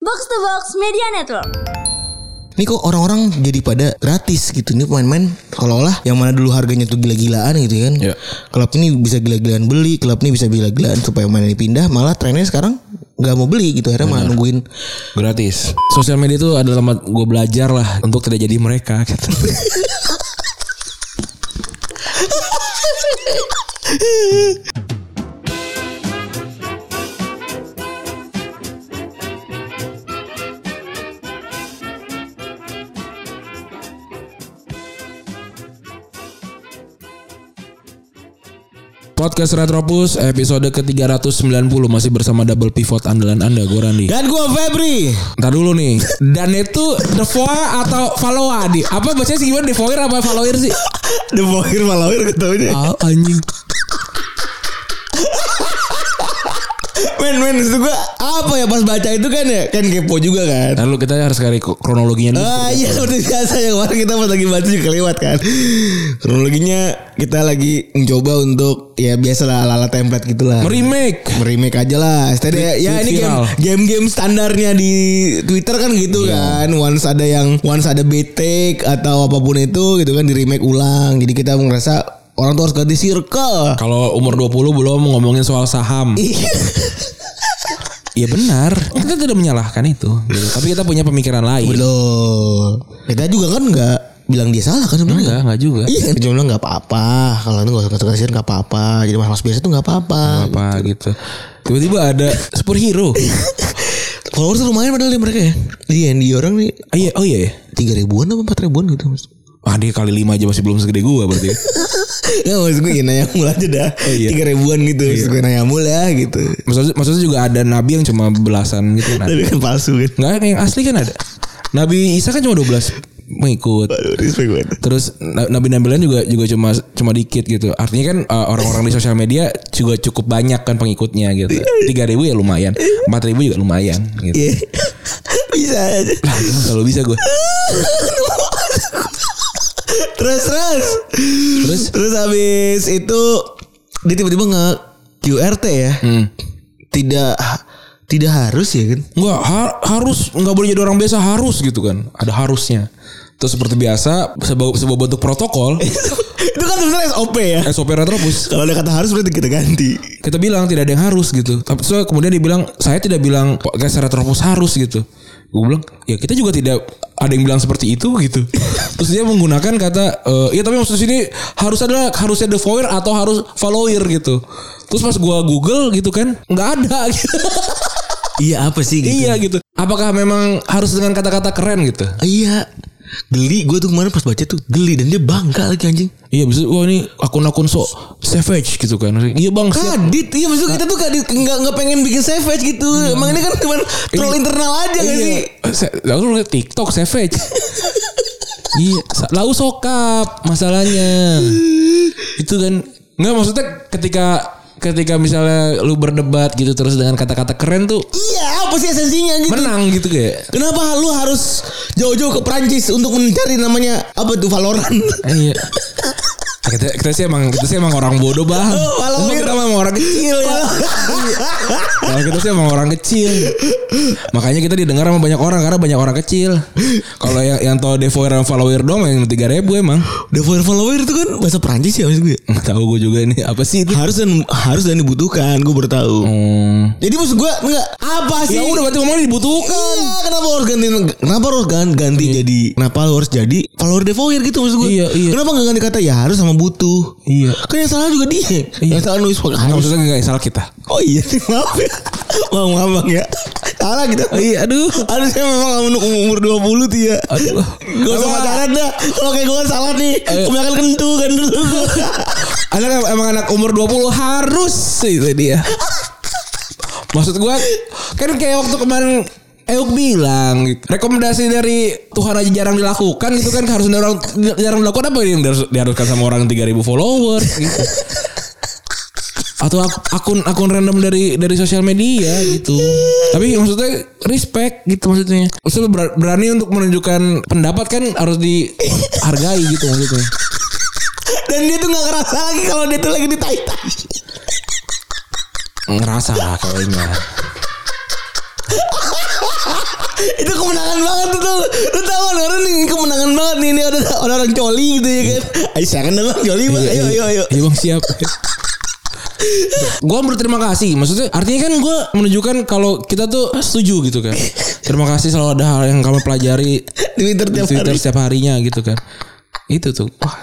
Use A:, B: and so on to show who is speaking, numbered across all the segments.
A: Box to Box Media Network.
B: Ini kok orang-orang jadi pada gratis gitu Ini pemain-pemain seolah-olah yang mana dulu harganya tuh gila-gilaan gitu kan
C: Iya.
B: Klub ini bisa gila-gilaan beli Klub ini bisa gila-gilaan supaya pemain ini pindah Malah trennya sekarang nggak mau beli gitu Akhirnya malah nungguin
C: gratis. Sosial media itu adalah tempat gue belajar lah untuk tidak jadi mereka. Gitu. Podcast Retropus episode ke-390 masih bersama double pivot andalan Anda gue Randi.
B: Dan gua Febri
C: Ntar dulu nih. Dan itu devoa atau followa di apa bacanya sih gimana devoir apa follower sih?
B: The Bohir Malawir ketawanya
C: Ah anjing.
B: Men men maksud gua apa ya pas baca itu kan ya Kan kepo juga kan
C: Lalu kita harus cari kronologinya dulu.
B: Ah iya seperti biasa yang kemarin kita pas lagi baca juga lewat kan. Kronologinya kita lagi mencoba untuk ya biasalah ala-ala template gitulah.
C: Remake.
B: Merimake aja lah. STD ya ini game
C: viral.
B: game-game standarnya di Twitter kan gitu kan. Once ada yang once ada betek atau apapun itu gitu kan di remake ulang. Jadi kita merasa orang tuh harus ganti circle.
C: Kalau umur 20 belum ngomongin soal saham. Iya benar. Kita tidak menyalahkan itu. gitu. Tapi kita punya pemikiran
B: Iya.
C: lain.
B: Belum. Kita Gitu. juga kan nggak bilang dia salah kan sebenarnya.
C: Enggak, enggak juga.
B: Iya kan jumlah nggak apa-apa kalau itu nggak usah kasih kasihan nggak apa-apa jadi mas-mas biasa tuh nggak apa-apa
C: Apa gitu. Tiba-tiba ada superhero.
B: followers lumayan padahal ya mereka ya iya yang di orang nih
C: Ah, iya, oh iya. ya.
B: tiga ribuan apa empat ribuan gitu mas
C: Wah Ah, dia kali lima aja masih belum segede gua berarti.
B: ya maksud gue ya nanya mul aja dah tiga ribuan gitu maksud gue nanya mul ya gitu
C: maksudnya, maksudnya juga ada nabi yang cuma belasan gitu. Nah,
B: tapi kan palsu kan
C: Enggak yang asli kan ada. Nabi Isa kan cuma 12 mengikut.
B: aduh respect banget
C: Terus na- nabi nabi lain juga juga cuma cuma dikit gitu. Artinya kan eh, orang-orang di sosial media juga cukup banyak kan pengikutnya gitu. 3000 ya lumayan, 4000 juga lumayan gitu.
B: iya bisa aja
C: Kalau bisa gue.
B: terus terus
C: Terus?
B: terus habis itu dia tiba-tiba nge QRT ya
C: Hmm.
B: tidak tidak harus ya kan
C: Enggak har- harus nggak boleh jadi orang biasa harus gitu kan. Ada harusnya. Terus seperti biasa sebuah, sebuah bentuk protokol
B: itu kan sebenarnya SOP ya
C: SOP Retrobus
B: Kalau ada kata harus berarti kita ganti.
C: kita bilang tidak ada yang harus gitu. Tapi so, kemudian dibilang saya tidak bilang podcast Retropus harus gitu. Gue bilang ya kita juga tidak ada yang bilang seperti itu gitu. Terus dia menggunakan kata eh, ya tapi maksud sini harus ada harusnya the follower atau harus follower gitu. Terus pas gua Google gitu kan nggak ada gitu.
B: Iya apa sih gitu?
C: iya gitu. Apakah memang harus dengan kata-kata keren gitu?
B: Iya. Geli gue tuh kemarin pas baca tuh geli dan dia bangga lagi anjing.
C: Iya bisa wah ini akun-akun so savage gitu kan. Iya Bang. siap.
B: Kadit, iya maksudnya kita tuh kadit nggak nggak pengen bikin savage gitu. Emang ini kan cuma troll internal aja nggak sih?
C: Iya. Se- Lalu liat TikTok savage. iya, sa- lalu sokap masalahnya. Itu kan nggak maksudnya ketika ketika misalnya lu berdebat gitu terus dengan kata-kata keren tuh
B: Iya apa sih esensinya gitu?
C: menang gitu kayak.
B: Kenapa lu harus jauh-jauh ke Prancis untuk mencari namanya apa tuh Valorant?
C: Eh, Iya. Nah, Kita, kita sih emang kita sih emang orang bodoh bang.
B: Oh, walau-
C: Emang kita emang orang kecil ya.
B: Iya.
C: Kalau Nah, kita sih emang orang kecil. Makanya kita didengar sama banyak orang karena banyak orang kecil. Kalau yang yang tahu devoir dan follower dong yang tiga ribu emang.
B: The follower itu kan bahasa Prancis ya maksud gue.
C: Nggak tahu gue juga ini apa sih itu.
B: Harus dan harus dan dibutuhkan gue baru tahu.
C: Hmm.
B: Jadi maksud gue enggak apa sih?
C: Ya udah berarti ngomongnya dibutuhkan.
B: Iya, kenapa harus ganti kenapa harus gan- ganti jadi kenapa lu harus jadi follower devoir gitu maksud gue
C: Iya, iya.
B: kenapa nggak ganti kata ya harus sama butuh
C: Iya.
B: kan yang salah juga dia yang salah nulis pakai
C: Nah,
B: harus
C: maksudnya nggak salah kita.
B: oh iya maaf ya maaf maaf bang ya salah kita
C: Iya, aduh.
B: Aduh saya memang lama nuk- umur 20 tuh ya
C: Aduh. Eh.
B: Gak usah pacaran dah Kalau kayak gue kan salah nih Kebanyakan kentu kan dulu
C: Anak emang anak umur 20 harus itu dia. Maksud gua kan kayak waktu kemarin Euk bilang gitu. rekomendasi dari Tuhan aja jarang dilakukan gitu kan harus orang jarang dilakukan apa yang diharus- diharuskan sama orang 3000 follower gitu. Atau ak- akun akun random dari dari sosial media gitu. Tapi maksudnya respect gitu maksudnya. Maksudnya ber- berani untuk menunjukkan pendapat kan harus dihargai gitu maksudnya.
B: Dan dia tuh gak kerasa lagi Kalau dia tuh lagi di tai-tai
C: ngerasa lah kayaknya
B: itu kemenangan banget tuh tuh. Lu tahu kan orang ini kemenangan banget nih ini ada orang orang coli gitu ya kan. Ayo silakan dong Bang, coli Bang. Ayo ayo ayo.
C: Iya bang siap. gue berterima kasih maksudnya artinya kan gue menunjukkan kalau kita tuh setuju gitu kan terima kasih selalu ada hal yang kamu pelajari
B: Di Twitter
C: di
B: tiap
C: Twitter
B: hari.
C: setiap harinya gitu kan itu tuh wah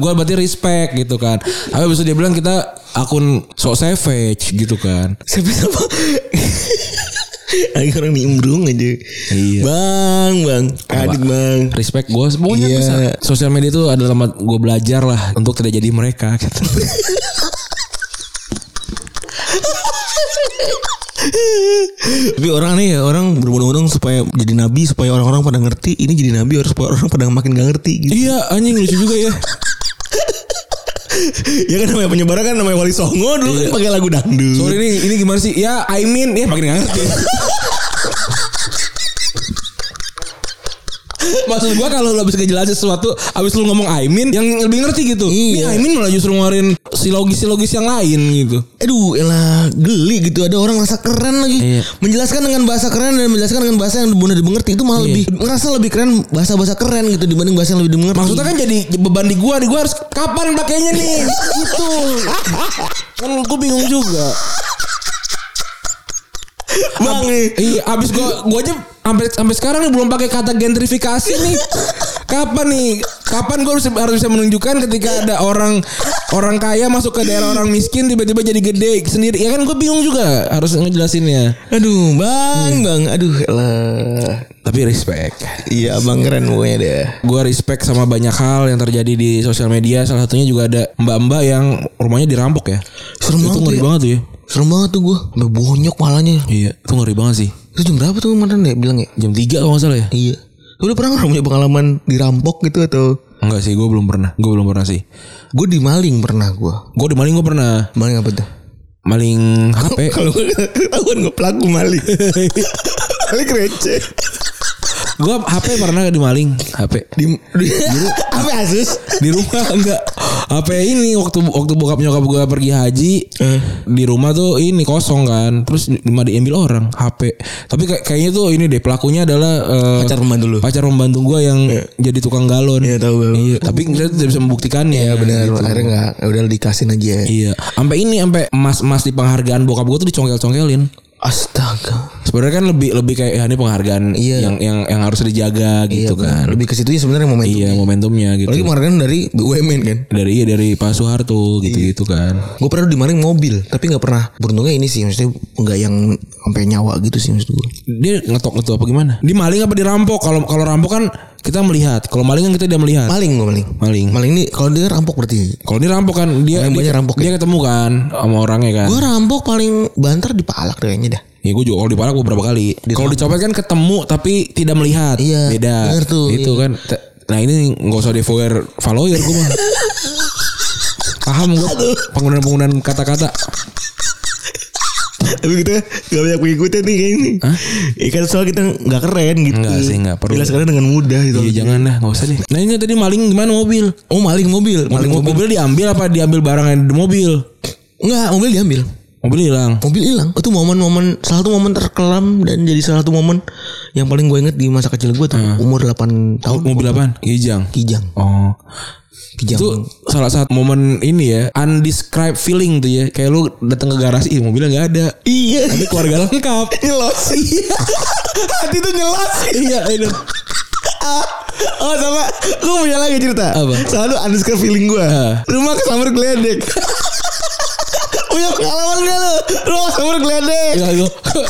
C: gue berarti respect gitu kan tapi besok dia bilang kita akun sok savage gitu kan
B: Siapa siapa? Ada orang nimbrung aja.
C: Iya.
B: Bang, bang. Adik bang.
C: respect gue semuanya
B: Iya.
C: besar. sosial media itu adalah tempat gue belajar lah untuk tidak jadi mereka gitu.
B: Tapi orang nih ya, orang berbondong-bondong supaya jadi nabi supaya orang-orang pada ngerti ini jadi nabi harus supaya orang pada makin gak ngerti gitu.
C: iya anjing lucu juga ya
B: ya kan namanya penyebar kan namanya Wali Songo dulu kan pakai lagu dangdut.
C: sorry nih ini gimana sih ya I mean ya Iya. makin gak ngerti Maksud gua kalau lu habis ngejelasin sesuatu Habis lu ngomong I mean Yang lebih ngerti gitu Ini I mean malah justru ngeluarin Silogis-silogis yang lain gitu
B: Aduh, elah geli gitu. Ada orang rasa keren lagi.
C: Iya.
B: Menjelaskan dengan bahasa keren dan menjelaskan dengan bahasa yang benar dimengerti itu malah
C: Iya.
B: lebih ngerasa lebih keren bahasa-bahasa keren gitu dibanding bahasa yang lebih dimengerti.
C: Maksudnya kan jadi beban di gua, di gua harus kapan pakainya nih? gitu. Kan gua bingung juga.
B: bang eh. nih.
C: Iya, abis gua gua aja sampai sampai sekarang nih belum pakai kata gentrifikasi nih. Kapan nih? Kapan gua harus harus bisa menunjukkan ketika ada orang orang kaya masuk ke daerah orang miskin tiba-tiba jadi gede sendiri. Ya kan gua bingung juga harus ngejelasinnya.
B: Aduh, bang, bang. Aduh, elah.
C: Tapi respect.
B: Iya, abang keren pokoknya deh.
C: Gua respect sama banyak hal yang terjadi di sosial media. Salah satunya juga ada mbak-mbak yang rumahnya dirampok ya.
B: Serem banget
C: itu ngeri
B: ya.
C: banget tuh ya.
B: Serem banget tuh gue. Sampai bonyok malahnya.
C: Iya, itu ngeri banget sih.
B: Itu jam berapa tuh kemarin ya bilang ya?
C: Jam 3 kalau nggak salah ya?
B: Iya. Lu udah pernah nggak punya pengalaman dirampok gitu atau?
C: Enggak sih, gue belum pernah. Gue belum pernah sih.
B: Gue dimaling pernah gue.
C: Gue di maling gue pernah
B: Maling apa tuh?
C: maling HP.
B: Kalau gue ketahuan gue pelaku maling. maling receh.
C: gue HP pernah di maling HP.
B: Di, di apa ya, Asus?
C: Di rumah enggak. HP ini waktu waktu bokap nyokap gue pergi haji
B: Hmm.
C: di rumah tuh ini kosong kan. Terus di- malah diambil orang HP. Tapi kayak- kayaknya tuh ini deh pelakunya adalah eh,
B: Pacar pembantu lu?
C: Pacar pembantu gue yang jadi tukang galon.
B: Iya tahu Gitu. gue.
C: Iya, tapi kita tidak bisa membuktikannya. Iya
B: Benar, akhirnya enggak udah dikasihin aja.
C: Iya, sampai ini sampai emas-emas di penghargaan bokap gue tuh dicongkel-congkelin.
B: Astaga.
C: Sebenarnya kan lebih lebih kayak ya ini penghargaan
B: Iya.
C: yang yang yang harus dijaga gitu kan.
B: Lebih ke situ ya sebenarnya momentum.
C: Iya, momentumnya gitu.
B: Apalagi kemarin dari BUMN kan.
C: dari iya dari Pak Soeharto gitu-gitu
B: Iya.
C: kan.
B: Gue pernah dimaling mobil, tapi nggak pernah. Beruntungnya ini sih, maksudnya nggak yang sampai nyawa gitu sih maksud gue.
C: Dia ngetok ngetok apa gimana? Di maling apa dirampok? Kalau kalau rampok kan kita melihat. Kalau maling kan kita tidak melihat.
B: Maling gue maling.
C: Maling.
B: Maling ini kalau dia rampok berarti.
C: Kalau ini rampok kan dia
B: Maling
C: dia,
B: banyak rampok ya?
C: dia ketemu kan sama orangnya kan.
B: Gue rampok paling banter di palak deh kayaknya dah.
C: Ya gue juga kalau dipalak gue berapa kali. Kalau dicopet kan ketemu tapi tidak melihat.
B: Iya,
C: Beda.
B: bener tuh, iya.
C: Itu kan. Te- Nah ini nggak usah devour follower gue mah. Paham gue penggunaan-penggunaan kata-kata.
B: Tapi kita gak banyak pengikutnya nih kayak ini. Ikan soal kita nggak keren gitu.
C: Enggak sih, nggak perlu.
B: Jelaskannya dengan mudah gitu.
C: Iya jangan dah nggak usah deh. Nah ini tadi maling gimana mobil?
B: Oh maling mobil, maling
C: Maling mobil, diambil apa diambil barang yang ada di mobil?
B: Enggak, mobil diambil.
C: Mobil hilang.
B: Mobil hilang. Itu momen-momen salah satu momen terkelam dan jadi salah satu momen yang paling gue inget di masa kecil gue tuh umur 8 tahun.
C: Mobil apa? Kijang.
B: Kijang,
C: Oh.
B: kijang.
C: Itu salah satu momen ini ya Undescribed feeling tuh ya Kayak lu datang ke garasi Ih mobilnya gak ada
B: iya.
C: Tapi keluarga lengkap
B: nyelos hati tuh nyelos
C: Iya aduh.
B: oh sama gue punya lagi cerita
C: Apa?
B: selalu underscore feeling gue
C: Ah.
B: rumah kesambar geledek punya pengalaman gak lu rumah kesambar geledek
C: Ya, gua-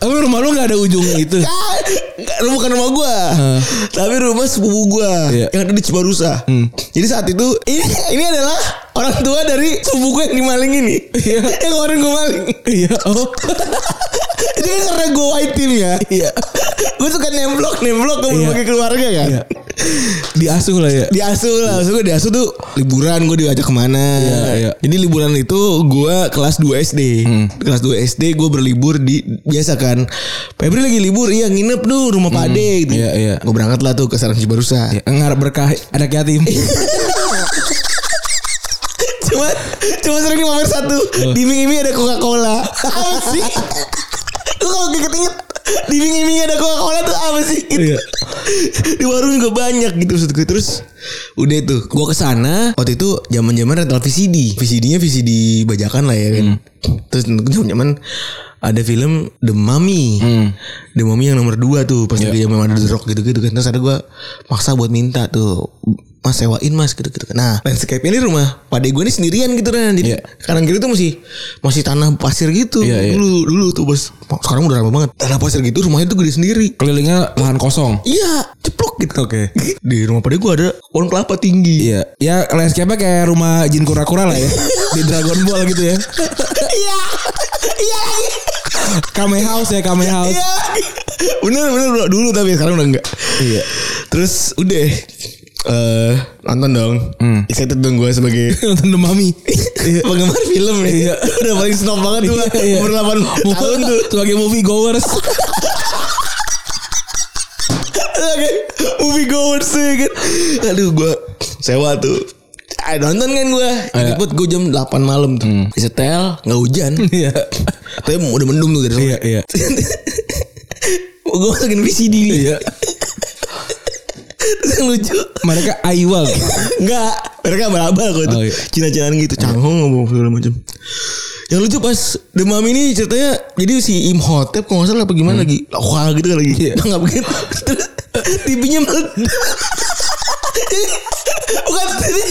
C: Tapi rumah lu gak ada ujung itu
B: Ah, nggak, Lu bukan rumah gua Tapi rumah sepupu gua
C: Iya. Hmm.
B: Yang ada di Cibarusah Jadi saat itu ini, ini adalah orang tua dari sepupu gua yang dimaling ini
C: Iya.
B: Yang kemarin gua maling
C: Iya oh
B: Itu kan karena gue white team ya
C: Iya
B: Gue suka nemblok Nemblok ke berbagai keluarga kan
C: Iya Diasuh lah ya
B: di asuh lah maksud gue di asuh tuh liburan gue diajak kemana
C: Iya, iya.
B: jadi liburan itu gue kelas 2 SD
C: Hmm.
B: kelas 2 SD gue berlibur di biasa kan Febri lagi libur iya nginep tuh rumah Pak Ade gitu
C: iya, iya.
B: gue berangkat lah tuh ke Sarang Cibarusah
C: Ya, Ngarep berkah anak yatim
B: cuma cuma sering di nomor satu di mie mie ada Coca Cola apa sih lu kalau inget inget di iming ada Coca-Cola tuh apa sih? Itu.
C: Iya.
B: di warung juga banyak gitu maksud gue. Terus udah tuh gue kesana waktu itu zaman zaman rental VCD VCD-nya VCD bajakan lah ya kan
C: Hmm.
B: terus zaman zaman ada film The Mummy
C: Hmm.
B: The Mummy yang nomor 2 tuh pas
C: Iya.
B: lagi zaman ada The Rock gitu gitu kan terus ada gue maksa buat minta tuh Mas sewain mas gitu gitu. Nah landscape ini rumah pada gue ini sendirian gitu kan. Jadi
C: Iya.
B: kanan kiri tuh masih masih tanah pasir gitu.
C: Iya, iya.
B: Dulu dulu tuh bos. Sekarang udah lama banget. Tanah pasir gitu rumahnya tuh gede sendiri.
C: Kelilingnya lahan kosong.
B: Iya, ceplok gitu.
C: Oke.
B: Di rumah pada gue ada pohon kelapa tinggi.
C: Iya. Ya landscape-nya kayak rumah Jin Kura-Kura lah ya. Di Dragon Ball gitu ya.
B: Iya, iya lagi.
C: Kame House ya, Kame House.
B: Iya. Bener bener bro. dulu tapi sekarang udah enggak.
C: Iya.
B: Terus udah eh nonton dong.
C: Hmm.
B: Excited dong gue sebagai
C: Iya. Nonton The Mummy.
B: penggemar film ya. Udah paling snob banget gue.
C: Iya.
B: Umur 8 tahun tuh.
C: Sebagai movie goers.
B: Oke, movie goers tuh ya kan. Aduh gue sewa tuh. Ah, nonton kan gue.
C: Iya. Hmm.
B: Jemput gue jam 8 malam tuh. Setel, nggak hujan.
C: Iya.
B: Tapi udah mendung tuh dari sore.
C: Iya, iya.
B: gue masukin VCD nih
C: Iya.
B: Terus yang lucu
C: Mereka Aiwal.
B: Enggak Mereka abal-abal kok itu
C: Oh, iya.
B: Cina-cinaan gitu Canggung ngomong segala macam yang lucu pas demam ini ceritanya jadi si Imhotep kalau nggak salah apa gimana lagi wah gitu kan lagi
C: Hmm. Iya.
B: nggak begitu terus TV-nya meledak Jadi, bukan jadi,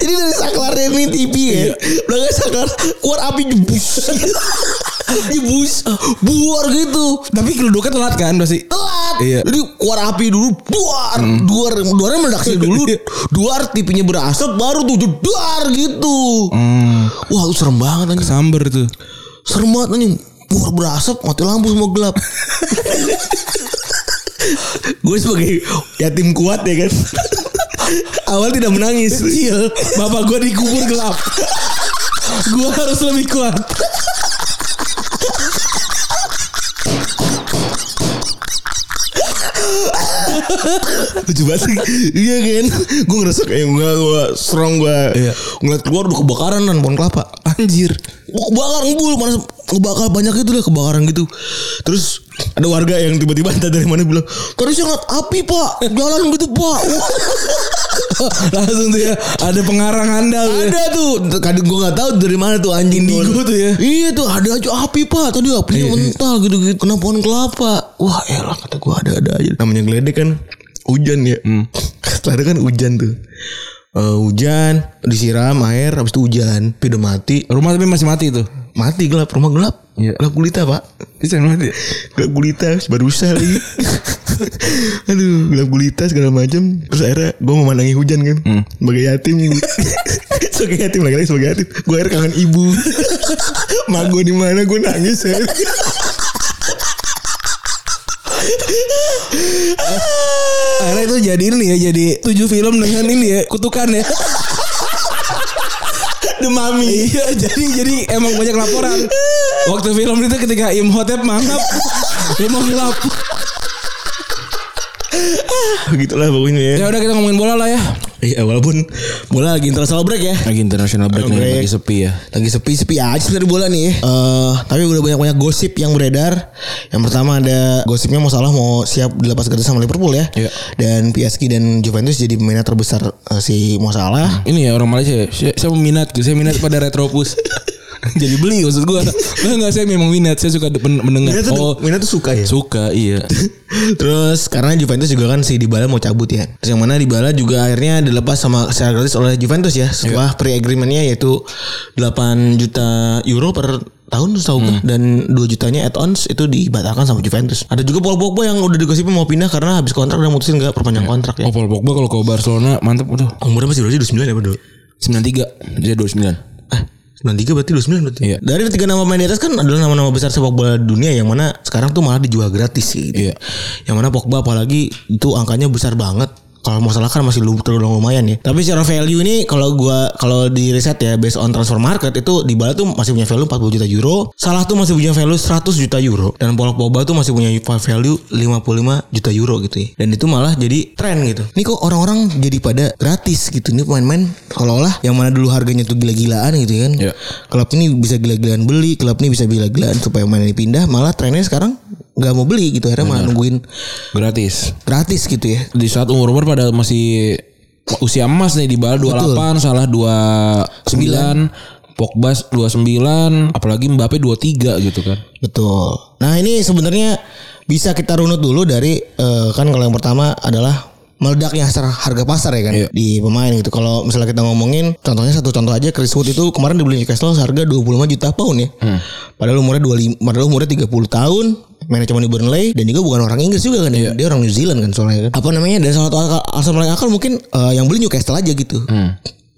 B: jadi dari saklarnya ini TV ya
C: Iya.
B: belakang saklar keluar api jebus jebus buar gitu
C: Tapi geluduknya telat kan pasti.
B: telat.
C: Iya. Hmm.
B: Jadi keluar api dulu, duar, duar, duarnya meledak sini dulu, duar tipinya berasap, baru tuh duar gitu.
C: Hmm.
B: Wah, lu serem banget anjing.
C: Samber tuh.
B: Serem banget anjing. Duar berasap, mati lampu semua gelap. Gue sebagai yatim kuat ya kan. Awal tidak menangis. Iya.
C: Bapak gua dikubur gelap. gua harus lebih kuat.
B: Lucu banget sih. Iya kan. Gue ngerasa kayak gue gue strong gue.
C: Iya.
B: Ngeliat keluar udah kebakaran dan pohon kelapa.
C: Anjir.
B: Wah, kebakar ngebul panas kebakar banyak itu deh kebakaran gitu terus ada warga yang tiba-tiba entah dari mana bilang tadi saya ngeliat api pak jalan gitu pak
C: Iya.
B: Wah,
C: Langsung tuh ya ada pengarang handal ya.
B: ada tuh kadang gue nggak tahu dari mana tuh anjing
C: Indigo tuh ya. Iya,
B: iya tuh ada aja api pak tadi apinya mental gitu gitu kena pohon kelapa wah elah kata gue ada ada aja namanya geledek kan hujan ya
C: Hmm.
B: setelah itu kan hujan tuh Eh, hujan disiram air habis itu hujan tapi udah mati
C: Rumah tapi masih mati tuh.
B: mati gelap rumah gelap
C: Iya.
B: gelap gulita pak
C: Bisa mati.
B: gelap gulita baru usah lagi aduh gelap gulita segala macam terus akhirnya gue memandangi hujan kan sebagai yatim gitu. sebagai yatim lagi lagi sebagai yatim gue akhirnya kangen ibu mak gue di mana gue nangis ya
C: Akhirnya itu jadi ini ya jadi tujuh film dengan ini ya kutukan ya.
B: demami
C: Iya jadi jadi emang banyak laporan. Waktu film itu ketika Imhotep mantap. Rumah gelap.
B: gitulah pokoknya ya
C: Ya udah kita ngomongin bola lah ya.
B: Iya walaupun bola lagi international break ya
C: Lagi international break
B: nih, lagi
C: sepi ya.
B: lagi sepi-sepi aja sebenarnya bola nih. Eh, tapi udah banyak-banyak gosip yang beredar. Yang pertama ada gosipnya mau salah mau siap dilepas gratis sama Liverpool ya.
C: Iya.
B: Dan PSG dan Juventus jadi pemainnya terbesar eh, si Mo Salah.
C: Ini ya orang Malaysia ya. Saya, saya minat gitu. Saya minat pada retropus. Jadi beli maksud gua. Enggak enggak saya memang minat. Saya suka men- mendengar. oh,
B: suka ya.
C: suka iya.
B: Terus karena Juventus juga kan si Dybala mau cabut ya. Terus yang mana Dybala juga akhirnya dilepas sama secara gratis oleh Juventus ya. Setelah pre-agreementnya yaitu 8 juta euro per tahun setahu gue. dan 2 jutanya add-ons itu dibatalkan sama Juventus. Ada juga Paul Pogba yang udah digosipin mau pindah karena habis kontrak udah mutusin gak perpanjang kontrak ya.
C: Oh, Paul Pogba kalau ke Barcelona mantep udah.
B: Umurnya masih berapa sih? 29 ya bro?
C: 93 dia 29.
B: Eh, 93 berarti 29 berarti.
C: Iya.
B: Dari tiga nama pemain di atas kan adalah nama-nama besar sepak bola dunia yang mana sekarang tuh malah dijual gratis sih. gitu.
C: Iya.
B: Yang mana Pogba apalagi itu angkanya besar banget. Kalau masalah kan masih lu- tergolong lumayan ya. Tapi secara value ini kalau gua kalau di riset ya based on transfer market itu di tuh masih punya value 40 juta euro, Salah tuh masih punya value 100 juta euro dan Paul Pogba tuh masih punya value 55 juta euro gitu ya. Dan itu malah jadi tren gitu. Ini kok orang-orang jadi pada gratis gitu nih pemain-pemain seolah-olah yang mana dulu harganya tuh gila-gilaan gitu kan.
C: Iya.
B: Klub ini bisa gila-gilaan beli, klub ini bisa gila-gilaan supaya pemain ini pindah, malah trennya sekarang nggak mau beli gitu akhirnya malah nungguin
C: Gratis.
B: gratis gitu ya
C: Di saat umur-umur pada masih usia emas nih di Bala 28, salah 29, Pogba 29, apalagi Mbappe 23 gitu kan.
B: Betul. Nah ini sebenarnya bisa kita runut dulu dari eh, kan kalau yang pertama adalah meledaknya secara harga pasar ya kan
C: Iya.
B: di pemain gitu. Kalau misalnya kita ngomongin contohnya satu contoh aja Chris Wood itu kemarin dibeli Newcastle seharga 25 juta pound ya. Padahal umurnya 25 padahal umurnya 30 tahun manajemen di Burnley dan juga bukan orang Inggris juga kan ya. dia orang New Zealand kan soalnya kan. Apa namanya dan salah satu akal, alasan paling akal mungkin eh, yang beli Newcastle aja gitu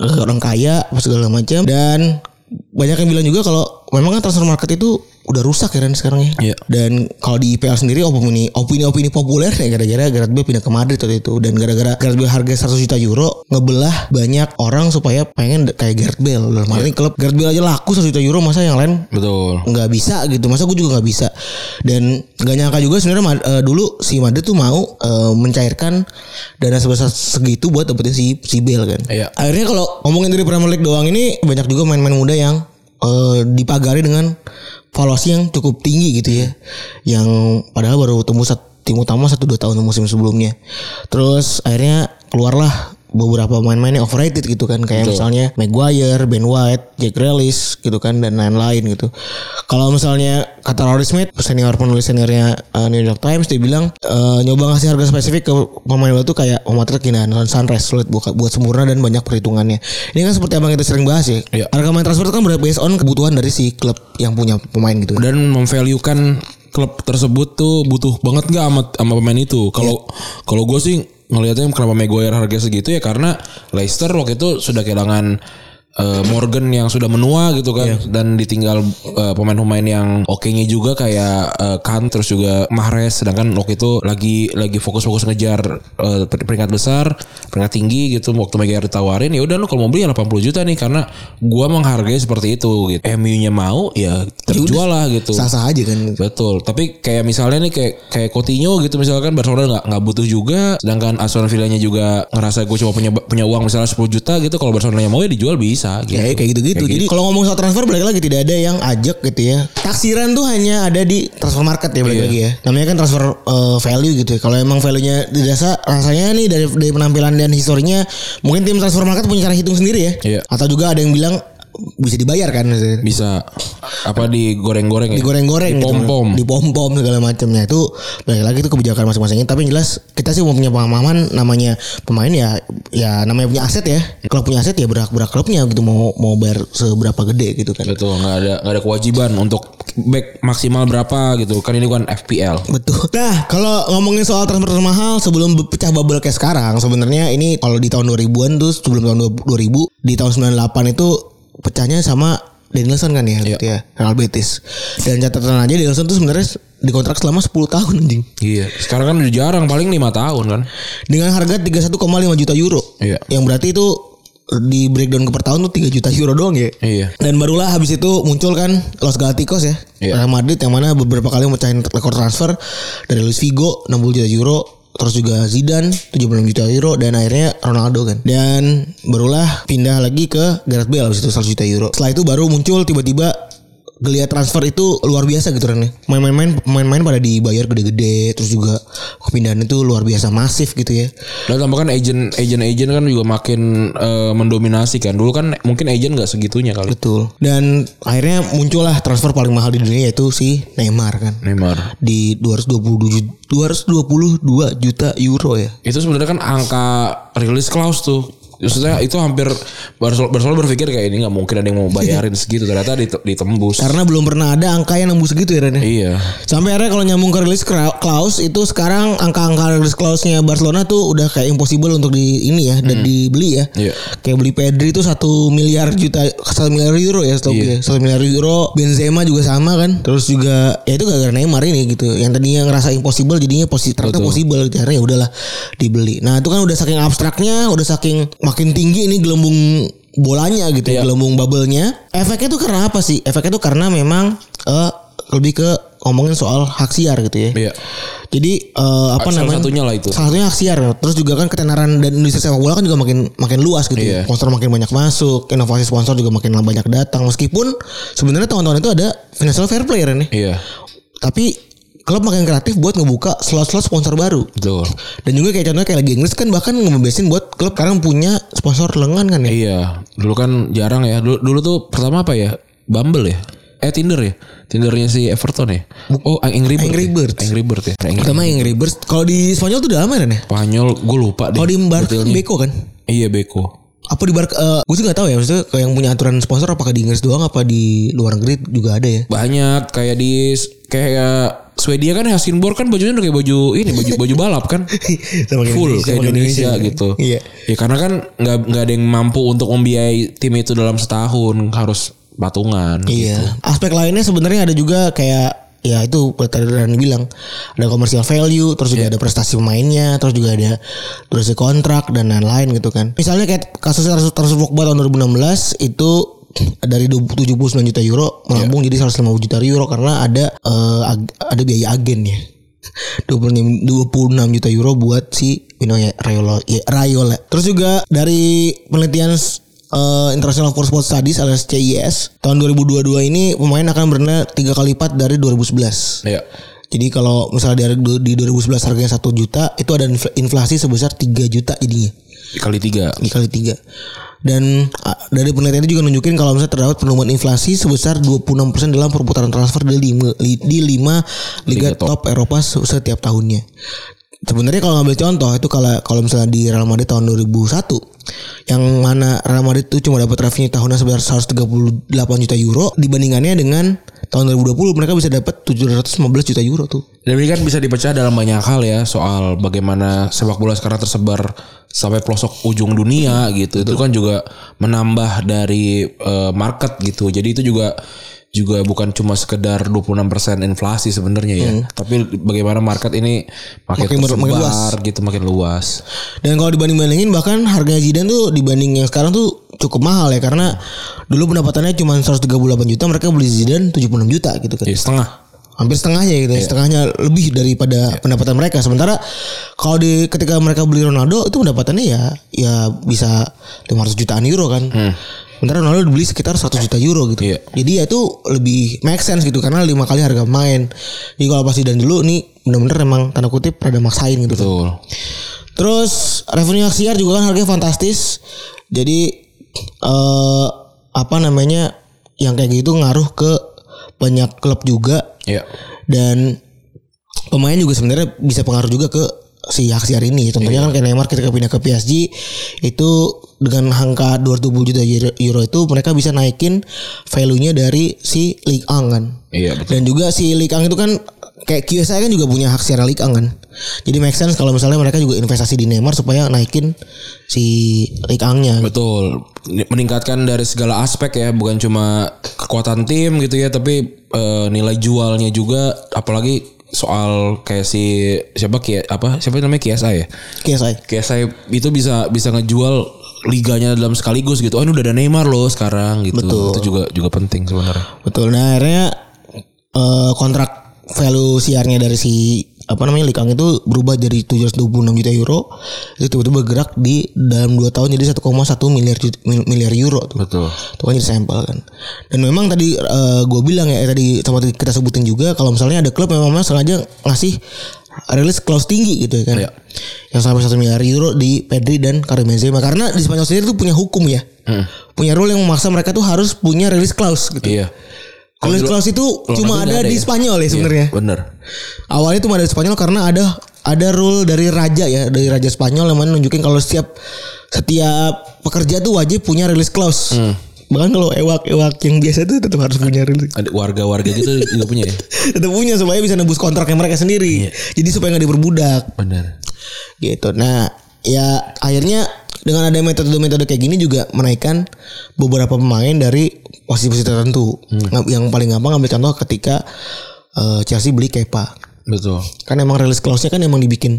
B: Eh, orang kaya apa segala macam dan banyak yang bilang juga kalau memang kan transfer market itu udah rusak ya Ren sekarang ya.
C: Iya.
B: Dan kalau di IPL sendiri opini opini opini populer ya gara-gara Gareth Bale pindah ke Madrid waktu itu dan gara-gara Gareth Bale harga 100 juta euro ngebelah banyak orang supaya pengen kayak Gareth Bale. Dalam arti klub Gareth Bale aja laku 100 juta euro masa yang lain
C: Betul.
B: nggak bisa gitu masa gue juga nggak bisa dan nggak nyangka juga sebenarnya Ma- eh, dulu si Madrid tuh mau eh, mencairkan dana sebesar segitu buat dapetin si si Bale kan
C: Iya.
B: akhirnya kalau ngomongin dari Premier League doang ini banyak juga main-main muda yang eh, dipagari dengan valuasi yang cukup tinggi gitu ya yang padahal baru tembus sat- tim utama satu dua tahun musim sebelumnya terus akhirnya keluarlah beberapa pemain-pemain yang overrated gitu kan kayak misalnya Maguire, Ben White, Jack Grealish gitu kan dan lain-lain gitu. Kalau misalnya kata Rory Smith senior penulis seniornya uh, New York Times dia bilang eh, nyoba ngasih harga spesifik ke pemain baru tuh kayak pematret kinaan sunrise sulit buka, buat sempurna dan banyak perhitungannya. Ini kan seperti abang kita sering bahas ya.
C: Iya.
B: Harga main transfer itu kan ber- based on kebutuhan dari si klub yang punya pemain gitu.
C: dan memvaluekan klub tersebut tuh butuh banget nggak sama, sama pemain itu. Kalau
B: Iya.
C: kalau gue sih ngelihatnya kenapa Maguire harga segitu ya karena Leicester waktu itu sudah kehilangan eh, Morgan yang sudah menua gitu kan
B: Iya.
C: dan ditinggal eh, pemain-pemain yang oke-nya juga kayak eh, Kant terus juga Mahrez sedangkan waktu itu lagi lagi fokus-fokus ngejar eh, per- peringkat besar, peringkat tinggi gitu waktu Maguire ditawarin ya udah lu kalau mau beli ya 80 juta nih karena gua menghargai seperti itu gitu. MU-nya mau ya terjual lah gitu.
B: Sah-sah aja kan. gitu.
C: Betul. Tapi kayak misalnya nih kayak kayak Coutinho gitu misalkan Barcelona nggak nggak butuh juga, sedangkan Aston Villanya juga ngerasa gue cuma punya punya uang misalnya 10 juta gitu, kalau Barcelona mau ya dijual bisa. Gitu.
B: Ya, kayak gitu-gitu. Jadi kalau ngomong soal transfer balik lagi tidak ada yang ajak gitu ya. Taksiran tuh hanya ada di transfer market ya balik
C: Iya.
B: lagi ya. Namanya kan transfer eh, value gitu ya. Kalau emang value-nya dirasa rasanya nih dari dari penampilan dan historinya mungkin tim transfer market punya cara hitung sendiri ya.
C: Iya.
B: Atau juga ada yang bilang bisa dibayar kan maksudnya.
C: bisa apa digoreng-goreng ya?
B: digoreng-goreng gitu.
C: Dipompom.
B: Dipom-pom segala macamnya itu balik lagi itu kebijakan masing-masingnya tapi yang jelas kita sih mau punya pemahaman namanya pemain ya ya namanya punya aset ya kalau punya aset ya berhak-berhak klubnya gitu mau mau bayar seberapa gede gitu kan
C: Betul, nggak ada nggak ada kewajiban untuk back maksimal berapa gitu. Kan ini kan FPL.
B: Betul. Nah, kalau ngomongin soal transfer mahal sebelum pecah bubble kayak sekarang, sebenarnya ini kalau di tahun 2000-an tuh sebelum tahun 2000, di tahun 98 itu pecahnya sama Danielson kan ya, gitu ya, Real Betis. Dan catatan aja Danielson tuh sebenarnya dikontrak selama 10 tahun anjing.
C: Iya. Sekarang kan udah jarang paling lima tahun kan.
B: dengan harga 31,5 juta euro.
C: Iya.
B: Yang berarti itu di breakdown ke per tahun tuh 3 juta euro doang ya.
C: Iya.
B: Dan barulah habis itu muncul kan Los Galacticos ya.
C: Iya.
B: Real Madrid yang mana beberapa kali mecahin rekor transfer dari Luis Figo 60 juta euro, terus juga Zidane 76 juta euro dan akhirnya Ronaldo kan. Dan barulah pindah lagi ke Gareth Bale habis itu 100 juta euro. Setelah itu baru muncul tiba-tiba geliat transfer itu luar biasa gitu Ren. Main-main main-main pada dibayar gede-gede terus juga kepindahan itu luar biasa masif gitu ya.
C: Dan tambah kan agent agent agent kan juga makin eh, mendominasi kan. Dulu kan mungkin agent nggak segitunya kali.
B: Betul. Dan akhirnya muncullah transfer paling mahal di dunia yaitu si Neymar kan.
C: Neymar.
B: Di 222 222 juta euro ya.
C: itu sebenarnya kan angka rilis clause tuh Maksudnya itu hampir Barcelona, Barcelona berpikir kayak ini nggak mungkin ada yang mau bayarin segitu ternyata dite- ditembus.
B: Karena belum pernah ada angka yang nembus segitu ya Ren. ya?
C: iya.
B: Sampai akhirnya kalau nyambung ke release cra- clause itu sekarang angka-angka release clause-nya Barcelona tuh udah kayak impossible untuk di ini ya dan dibeli ya.
C: Iya.
B: Kayak beli Pedri itu satu miliar juta satu miliar euro ya
C: Iya.
B: setahu gue. Satu miliar euro. Benzema juga sama kan. Terus juga ya itu gara-gara Neymar ini gitu. Yang tadinya ngerasa impossible jadinya posi ternyata possible gitu. Akhirnya ya udahlah dibeli. Nah, itu kan udah saking abstraknya, udah saking makin tinggi ini gelembung bolanya gitu ya,
C: Iya.
B: gelembung bubble-nya. Efeknya tuh karena apa sih? Efeknya tuh karena memang eh, lebih ke ngomongin soal hak siar gitu ya.
C: Iya.
B: Jadi eh, apa
C: Salah
B: namanya?
C: satunya lah itu.
B: Salah satunya hak siar. Terus juga kan ketenaran dan industri sepak bola kan juga makin makin luas gitu. ya.
C: Iya.
B: Sponsor makin banyak masuk, inovasi sponsor juga makin banyak datang. Meskipun sebenarnya tahun-tahun itu ada financial fair play Ren, ya.
C: Iya.
B: Tapi klub makin kreatif buat ngebuka slot-slot sponsor baru.
C: Betul.
B: Dan juga kayak contohnya kayak lagi Inggris kan bahkan ngebebasin buat klub sekarang punya sponsor lengan kan ya.
C: Iya, dulu kan jarang ya. Dulu, dulu tuh pertama apa ya? Bumble ya? Eh Tinder ya? Tindernya si Everton ya? Oh Angry Bird.
B: Angry
C: ya?
B: Bird.
C: Angry Bird ya. Angry
B: Pertama Inggris. Bird. Kalau di Spanyol tuh udah aman kan ya?
C: Spanyol gue lupa deh.
B: Kalau Oh, di Bar
C: detailnya.
B: Beko kan?
C: Iya Beko.
B: Apa di Bar eh, gue sih gak tahu ya maksudnya kayak yang punya aturan sponsor apakah di Inggris doang apa di luar negeri juga ada ya.
C: Banyak kayak di kayak Swedia kan Helsingborg kan bajunya udah kayak baju ini baju baju balap kan.
B: sama kayak Indonesia,
C: full kayak
B: sama kayak
C: Indonesia,
B: Indonesia.
C: gitu.
B: Iya.
C: Ya karena kan nggak nggak ada yang mampu untuk membiayai tim itu dalam setahun harus patungan.
B: Iya. Aspek lainnya sebenarnya ada juga kayak ya itu buat tadi Rani bilang ada commercial value, terus juga ada prestasi pemainnya, terus juga ada durasi kontrak dan lain-lain gitu kan. Misalnya kayak kasus transfer transfer Pogba tahun 2016 itu dari 79 juta euro melambung jadi 150 juta euro karena ada eh, ag- ada biaya agen ya. 26 26 juta euro buat si Pino ya Raiola, ya, Raiola. Terus juga dari penelitian eh, International for Sport Studies alias CIS tahun 2022 ini pemain akan berenang tiga kali lipat dari 2011.
C: Iya.
B: Jadi kalau misalnya dari du- di 2011 harganya 1 juta itu ada infl- inflasi sebesar 3 juta jadinya
C: Kali tiga.
B: dikali 3. Dan ah, dari penelitian itu juga nunjukin kalau misalnya terdapat penurunan inflasi sebesar 26% dalam perputaran transfer di 5 di lima liga,
C: Liga top.
B: top. Eropa se- setiap tahunnya. Sebenarnya kalau ngambil contoh itu kalau kalau misalnya di Real Madrid tahun 2001 yang mana Real Madrid itu cuma dapat revenue tahunan sebesar 138 juta euro dibandingannya dengan tahun 2020 mereka bisa dapat 715 juta euro tuh.
C: Dan ini kan bisa dipecah dalam banyak hal ya soal bagaimana sepak bola sekarang tersebar sampai pelosok ujung dunia gitu. Itu kan juga menambah dari eh, market gitu. Jadi itu juga juga bukan cuma sekedar 26% inflasi sebenarnya ya, tapi bagaimana market ini makin,
B: Makin ber-
C: tersebar
B: makin
C: gitu, makin luas.
B: Dan kalau dibanding-bandingin bahkan harganya Zidane tuh dibanding yang sekarang tuh cukup mahal ya karena dulu pendapatannya cuma 138 juta mereka beli Zidane 76 juta gitu kan.
C: Jadi Ya, setengah.
B: Hampir setengahnya gitu,
C: Iya.
B: ya, setengahnya lebih daripada pendapatan mereka. Sementara kalau di ketika mereka beli Ronaldo itu pendapatannya ya ya bisa 500 jutaan euro kan. Sementara Ronaldo dibeli sekitar 100 juta euro gitu.
C: Hmm. Iya.
B: Jadi ya itu lebih make sense gitu karena lima kali harga main. Jadi kalau pas Zidane dulu nih bener-bener emang tanda kutip rada maksain gitu.
C: Betul.
B: Terus revenue Axiar juga kan harganya fantastis. Jadi eh apa namanya yang kayak gitu ngaruh ke banyak klub juga
C: Iya.
B: dan pemain juga sebenarnya bisa pengaruh juga ke si Axiar ini. Contohnya kan kayak Neymar ketika pindah ke PSG itu dengan angka 220 juta euro- euro itu mereka bisa naikin value-nya dari si Ligue 1 kan.
C: Iya, betul.
B: Dan juga si Ligue 1 itu kan kayak QSI kan juga punya hak share Ligue 1 kan. Jadi make sense kalau misalnya mereka juga investasi di Neymar supaya naikin si Ligue 1-nya.
C: Betul, meningkatkan dari segala aspek ya, bukan cuma kekuatan tim gitu ya, tapi eh, nilai jualnya juga, apalagi soal kayak si siapa Kia apa siapa namanya Kiasa ya.
B: QSI.
C: Kiasa itu bisa bisa ngejual liganya dalam sekaligus gitu. Oh ini udah ada Neymar loh sekarang gitu.
B: Betul.
C: Itu juga juga penting sebenarnya.
B: Betul. Nah akhirnya eh, kontrak value siarnya dari si apa namanya Likang itu berubah dari 726 juta euro itu tiba-tiba bergerak di dalam 2 tahun jadi 1,1 miliar jut- mil- miliar euro tuh.
C: Betul.
B: Itu kan jadi sampel kan. Dan memang tadi gue bilang ya eh, tadi sama kita sebutin juga kalau misalnya ada klub yang memang sengaja ngasih rilis clause tinggi gitu ya kan.
C: Iya.
B: Yang sampai 1 miliar euro di Pedri dan Karim Benzema karena di Spanyol sendiri tuh punya hukum ya. Punya rule yang memaksa mereka tuh harus punya rilis clause gitu.
C: Hmm. Iya.
B: Rilis clause itu
C: Luar
B: cuma
C: negeri nggak
B: ada, di
C: ya?
B: Spanyol ya
C: Iya,
B: sebenarnya.
C: bener.
B: Awalnya cuma ada di Spanyol karena ada ada rule dari raja ya, dari raja Spanyol yang mana nunjukin kalau setiap setiap pekerja tuh wajib punya rilis clause. Bahkan kalau ewak-ewak yang biasa tuh tetap harus punya rilis.
C: Ada warga-warga gitu juga punya ya.
B: tetap punya supaya bisa nebus kontraknya mereka sendiri. Jadi supaya nggak diperbudak
C: Bener.
B: gitu. Nah, ya akhirnya dengan ada metode-metode kayak gini juga menaikkan beberapa pemain dari posisi-posisi tertentu. Nga- Yang paling gampang ambil contoh ketika eh, Chelsea beli Kepa.
C: Betul.
B: Kan emang release clause-nya kan emang dibikin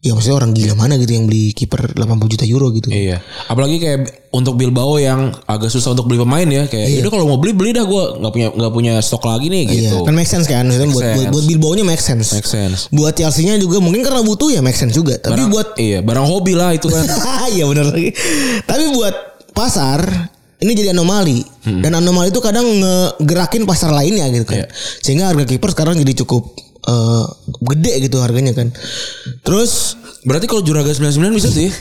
B: ya maksudnya orang gila mana gitu yang beli kiper 80 juta euro gitu.
C: Iya. Apalagi kayak untuk Bilbao yang agak susah untuk beli pemain ya kayak udah kalau mau beli beli dah gua nggak punya nggak punya stok lagi
B: Iya,
C: nih gitu.
B: kan make sense kan Maksudnya buat, buat
C: sense.
B: buat Bilbao-nya make sense.
C: Make sense.
B: Buat Chelsea-nya juga mungkin karena butuh ya make sense juga. Tapi
C: Barang-
B: buat
C: iya, barang hobi lah itu kan.
B: Iya benar lagi. Tapi buat pasar ini jadi anomali dan anomali itu kadang ngegerakin pasar lainnya gitu kan.
C: Iya.
B: Sehingga harga kiper sekarang jadi cukup eh, gede gitu harganya kan. Terus
C: Berarti kalau Juragan 99 bisa sih.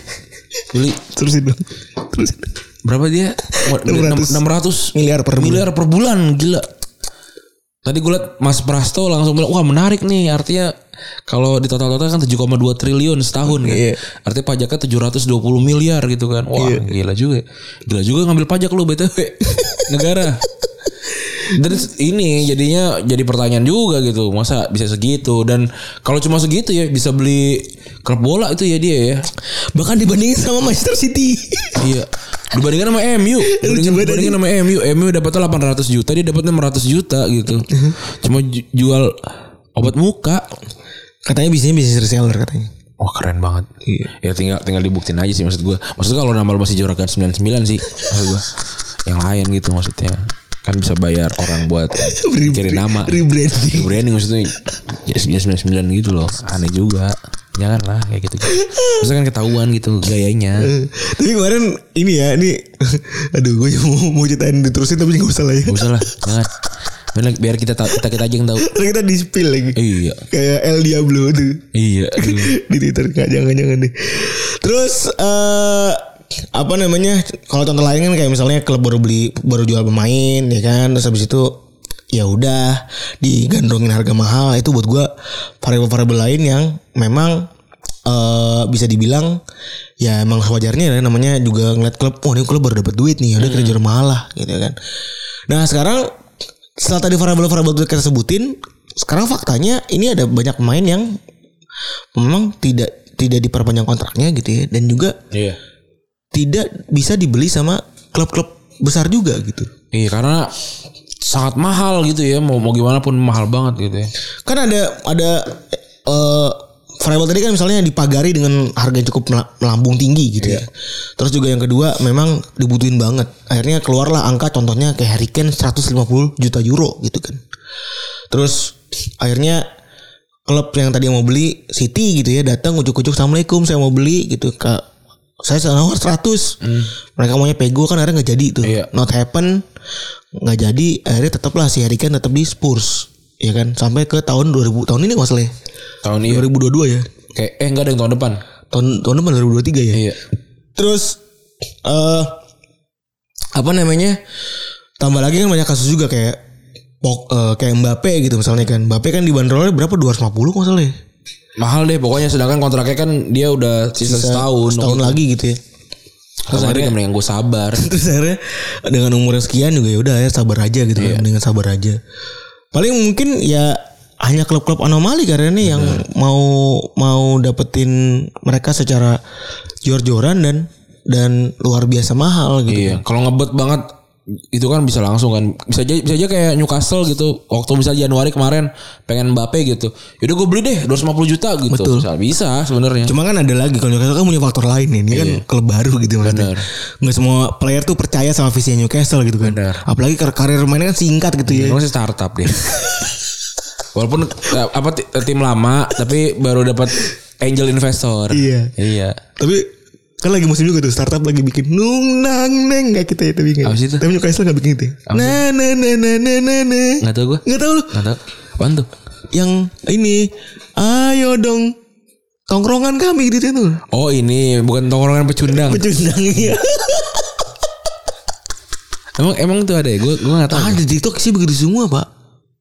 C: Beli
B: terusin dulu. Terusin.
C: berapa dia?
B: 600.
C: 600, 600
B: Miliar per bulan.
C: miliar per bulan gila. Tadi gue liat Mas Prasto langsung bilang wah menarik nih artinya kalau di total-total kan 7,2 triliun setahun kan.
B: Iya.
C: Artinya pajaknya 720 miliar gitu kan. Wah, gila juga. Gila juga ngambil pajak lu BTW negara. Dan ini jadinya jadi pertanyaan juga gitu. Masa bisa segitu dan kalau cuma segitu ya bisa beli klub bola itu ya dia ya.
B: Bahkan dibandingin sama Manchester City.
C: Iya. Dibandingkan sama MU, dibandingkan,
B: banget
C: dibandingkan sama MU, MU dapatnya 800 juta, dia dapatnya 600 juta gitu. Cuma ju- jual obat muka.
B: katanya bisnisnya bisnis reseller katanya.
C: Wah keren banget. Ya tinggal tinggal dibuktiin aja sih maksud gua. Maksud gua kalau nambah masih juragan 99 sih maksud gua. Yang lain gitu maksudnya. Kan bisa bayar orang buat cari nama.
B: Rebranding.
C: Branding maksudnya ya 99 gitu loh. Aneh juga. Jangan lah kayak gitu. Maksudnya kan ketahuan gitu gayanya.
B: tapi kemarin ini ya ini aduh gue mau mau ceritain diterusin tapi nggak usah lah ya
C: Gak usah lah, jangan. Biar, biar kita tahu, kita kita aja yang tahu.
B: Ntar kita di spill lagi
C: Iya.
B: kayak El Diablo tuh
C: Iya. aduh.
B: di Twitter nggak jangan jangan deh terus eh apa namanya kalau contoh lain kan kayak misalnya klub baru beli baru jual pemain ya kan terus habis itu ya udah digandrongin harga mahal Nah, itu buat gua variabel-variabel lain yang memang eh bisa dibilang ya emang sewajarnya ya namanya juga ngeliat klub oh ini klub baru dapat duit nih udah kita jual mahal lah gitu kan nah sekarang setelah tadi variabel-variabel itu kita sebutin, sekarang faktanya ini ada banyak pemain yang memang tidak tidak diperpanjang kontraknya gitu ya dan juga
C: Iya.
B: tidak bisa dibeli sama klub-klub besar juga gitu.
C: Iya karena sangat mahal gitu ya mau mau gimana pun mahal banget gitu ya.
B: Kan ada ada eh, variabel tadi kan misalnya dipagari dengan harga yang cukup mela- melambung tinggi gitu ya. Terus juga yang kedua memang dibutuhin banget. Akhirnya keluarlah angka contohnya kayak Harry Kane 150 juta euro gitu kan. Terus akhirnya klub yang tadi mau beli City gitu ya datang ujuk-ujuk assalamualaikum saya mau beli gitu ke saya nawar 100 mereka maunya pego kan akhirnya nggak jadi itu
C: Hmm. Iya.
B: not happen nggak jadi akhirnya tetaplah si Harry Kane tetap di Spurs ya kan sampai ke tahun 2000 tahun ini nggak salah ya?
C: Tahun ini
B: 2022 ya
C: kayak eh enggak ada yang tahun depan.
B: tahun tahun depan 2023 ya
C: Iya.
B: Terus eh apa namanya? Tambah lagi kan banyak kasus juga kayak Pok- eh, kayak Mbappe gitu misalnya kan. Mbappe kan dibanderolnya berapa? 250 kalau nggak salah ya.
C: Mahal deh pokoknya sedangkan kontraknya kan dia udah sisa, setahun. ya?
B: Setahun lagi gitu ya.
C: Terus akhirnya yang gue sabar.
B: Terus akhirnya dengan umur yang sekian juga ya udah ya sabar aja gitu kan. Dengan sabar aja. Paling mungkin ya hanya klub-klub anomali karena ini yang mau mau dapetin mereka secara jor-joran dan dan luar biasa mahal gitu.
C: Iya, kalau ngebet banget itu kan bisa langsung kan. Bisa aja bisa aja kayak Newcastle gitu. Waktu misalnya Januari kemarin pengen Mbappe gitu. Yaudah gue beli deh 250 juta gitu.
B: Betul.
C: Bisa, bisa sebenarnya.
B: Cuma kan ada lagi kalau Newcastle kan punya faktor lain nih. Ini kan klub baru gitu maksudnya.
C: Iya. Benar.
B: Nggak semua player tuh percaya sama visi Newcastle gitu kan.
C: Benar. Iya.
B: Apalagi kar- karir mainnya kan singkat gitu ya.
C: Memang sih startup deh. Walaupun eh, apa ti- tim lama tapi baru dapat angel investor.
B: Iya.
C: Iya.
B: Tapi kan lagi musim juga tuh startup lagi bikin nung nang neng nggak kita ya tapi nggak.
C: Apa sih itu?
B: Tapi Newcastle nggak bikin itu. ya. Na na na na na na na.
C: Nggak tahu gua.
B: nah, Nggak tahu lu.
C: Nggak tahu. Apaan tuh?
B: Yang ini ayo dong tongkrongan kami gitu tuh.
C: Oh ini bukan tongkrongan pecundang.
B: Pecundang ya.
C: Emang emang tuh ada ya? Gue gue nggak tahu.
B: Ah, iya. di TikTok sih begitu semua pak.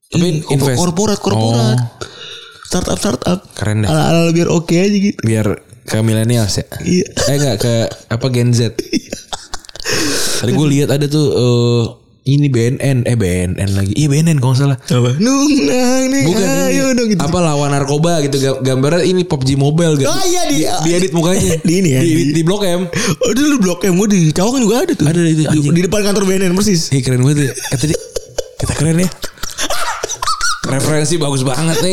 C: Tapi
B: Ini korpor-
C: invest-
B: korporat korporat.
C: Oh.
B: Startup startup.
C: Keren dah.
B: Ala ala biar oke aja gitu.
C: Biar ke millennials ya.
B: Iya.
C: Eh nggak ke apa Gen Z. Tadi gue lihat ada tuh eh, ini BNN eh BNN lagi. Iya BNN kalau nggak salah.
B: Apa? Nung nang nih.
C: Bukan
B: ayo
C: ini.
B: dong gitu.
C: Apa lawan narkoba gitu Gam- gambarnya ini PUBG Mobile gak?
B: Oh, iya, di-
C: edit mukanya.
B: Di ini ya,
C: Di,
B: di-
C: di Blok M.
B: Oh dulu blok M gue di Cawang kan juga ada tuh.
C: Ada, ada itu,
B: Di-
C: anjing.
B: Di depan kantor BNN persis.
C: Ih keren banget. ya. Kata dia, kita keren ya. Referensi bagus banget nih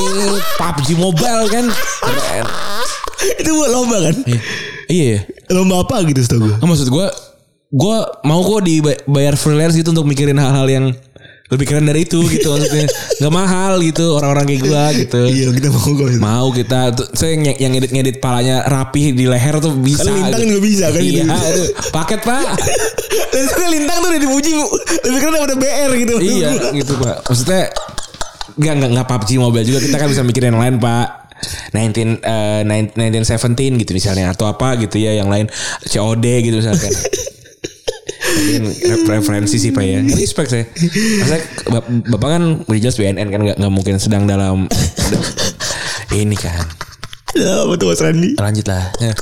C: PUBG Mobile kan. Keren.
B: Itu buat lomba kan?
C: Iya. Iya. ya.
B: Lomba apa gitu setahu gue.
C: Nah, maksud gua gua mau kok dibayar freelance gitu untuk mikirin hal-hal yang lebih keren dari itu gitu maksudnya. Gak mahal gitu orang-orang kayak gua gitu.
B: Iya kita mau gue.
C: Mau kita tuh, saya yang, yang ngedit-ngedit palanya rapi di leher tuh bisa.
B: Kan lintang juga bisa kan gitu.
C: Iya, aduh, paket Pak.
B: Dan sekarang lintang tuh udah dipuji Bu. lebih keren daripada BR gitu.
C: iya, gitu Pak. Iya, Maksudnya Enggak enggak enggak PUBG mobile juga kita kan bisa mikirin yang lain pak 19 eh, nine- 1917 gitu misalnya atau apa gitu ya yang lain COD gitu misalkan. Mungkin re- referensi sih pak ya respect saya Maksudnya bap- bapak kan udah jelas BNN kan nggak nggak mungkin sedang dalam ini kan
B: Ya betul Mas Randi.
C: lanjut lah Ya.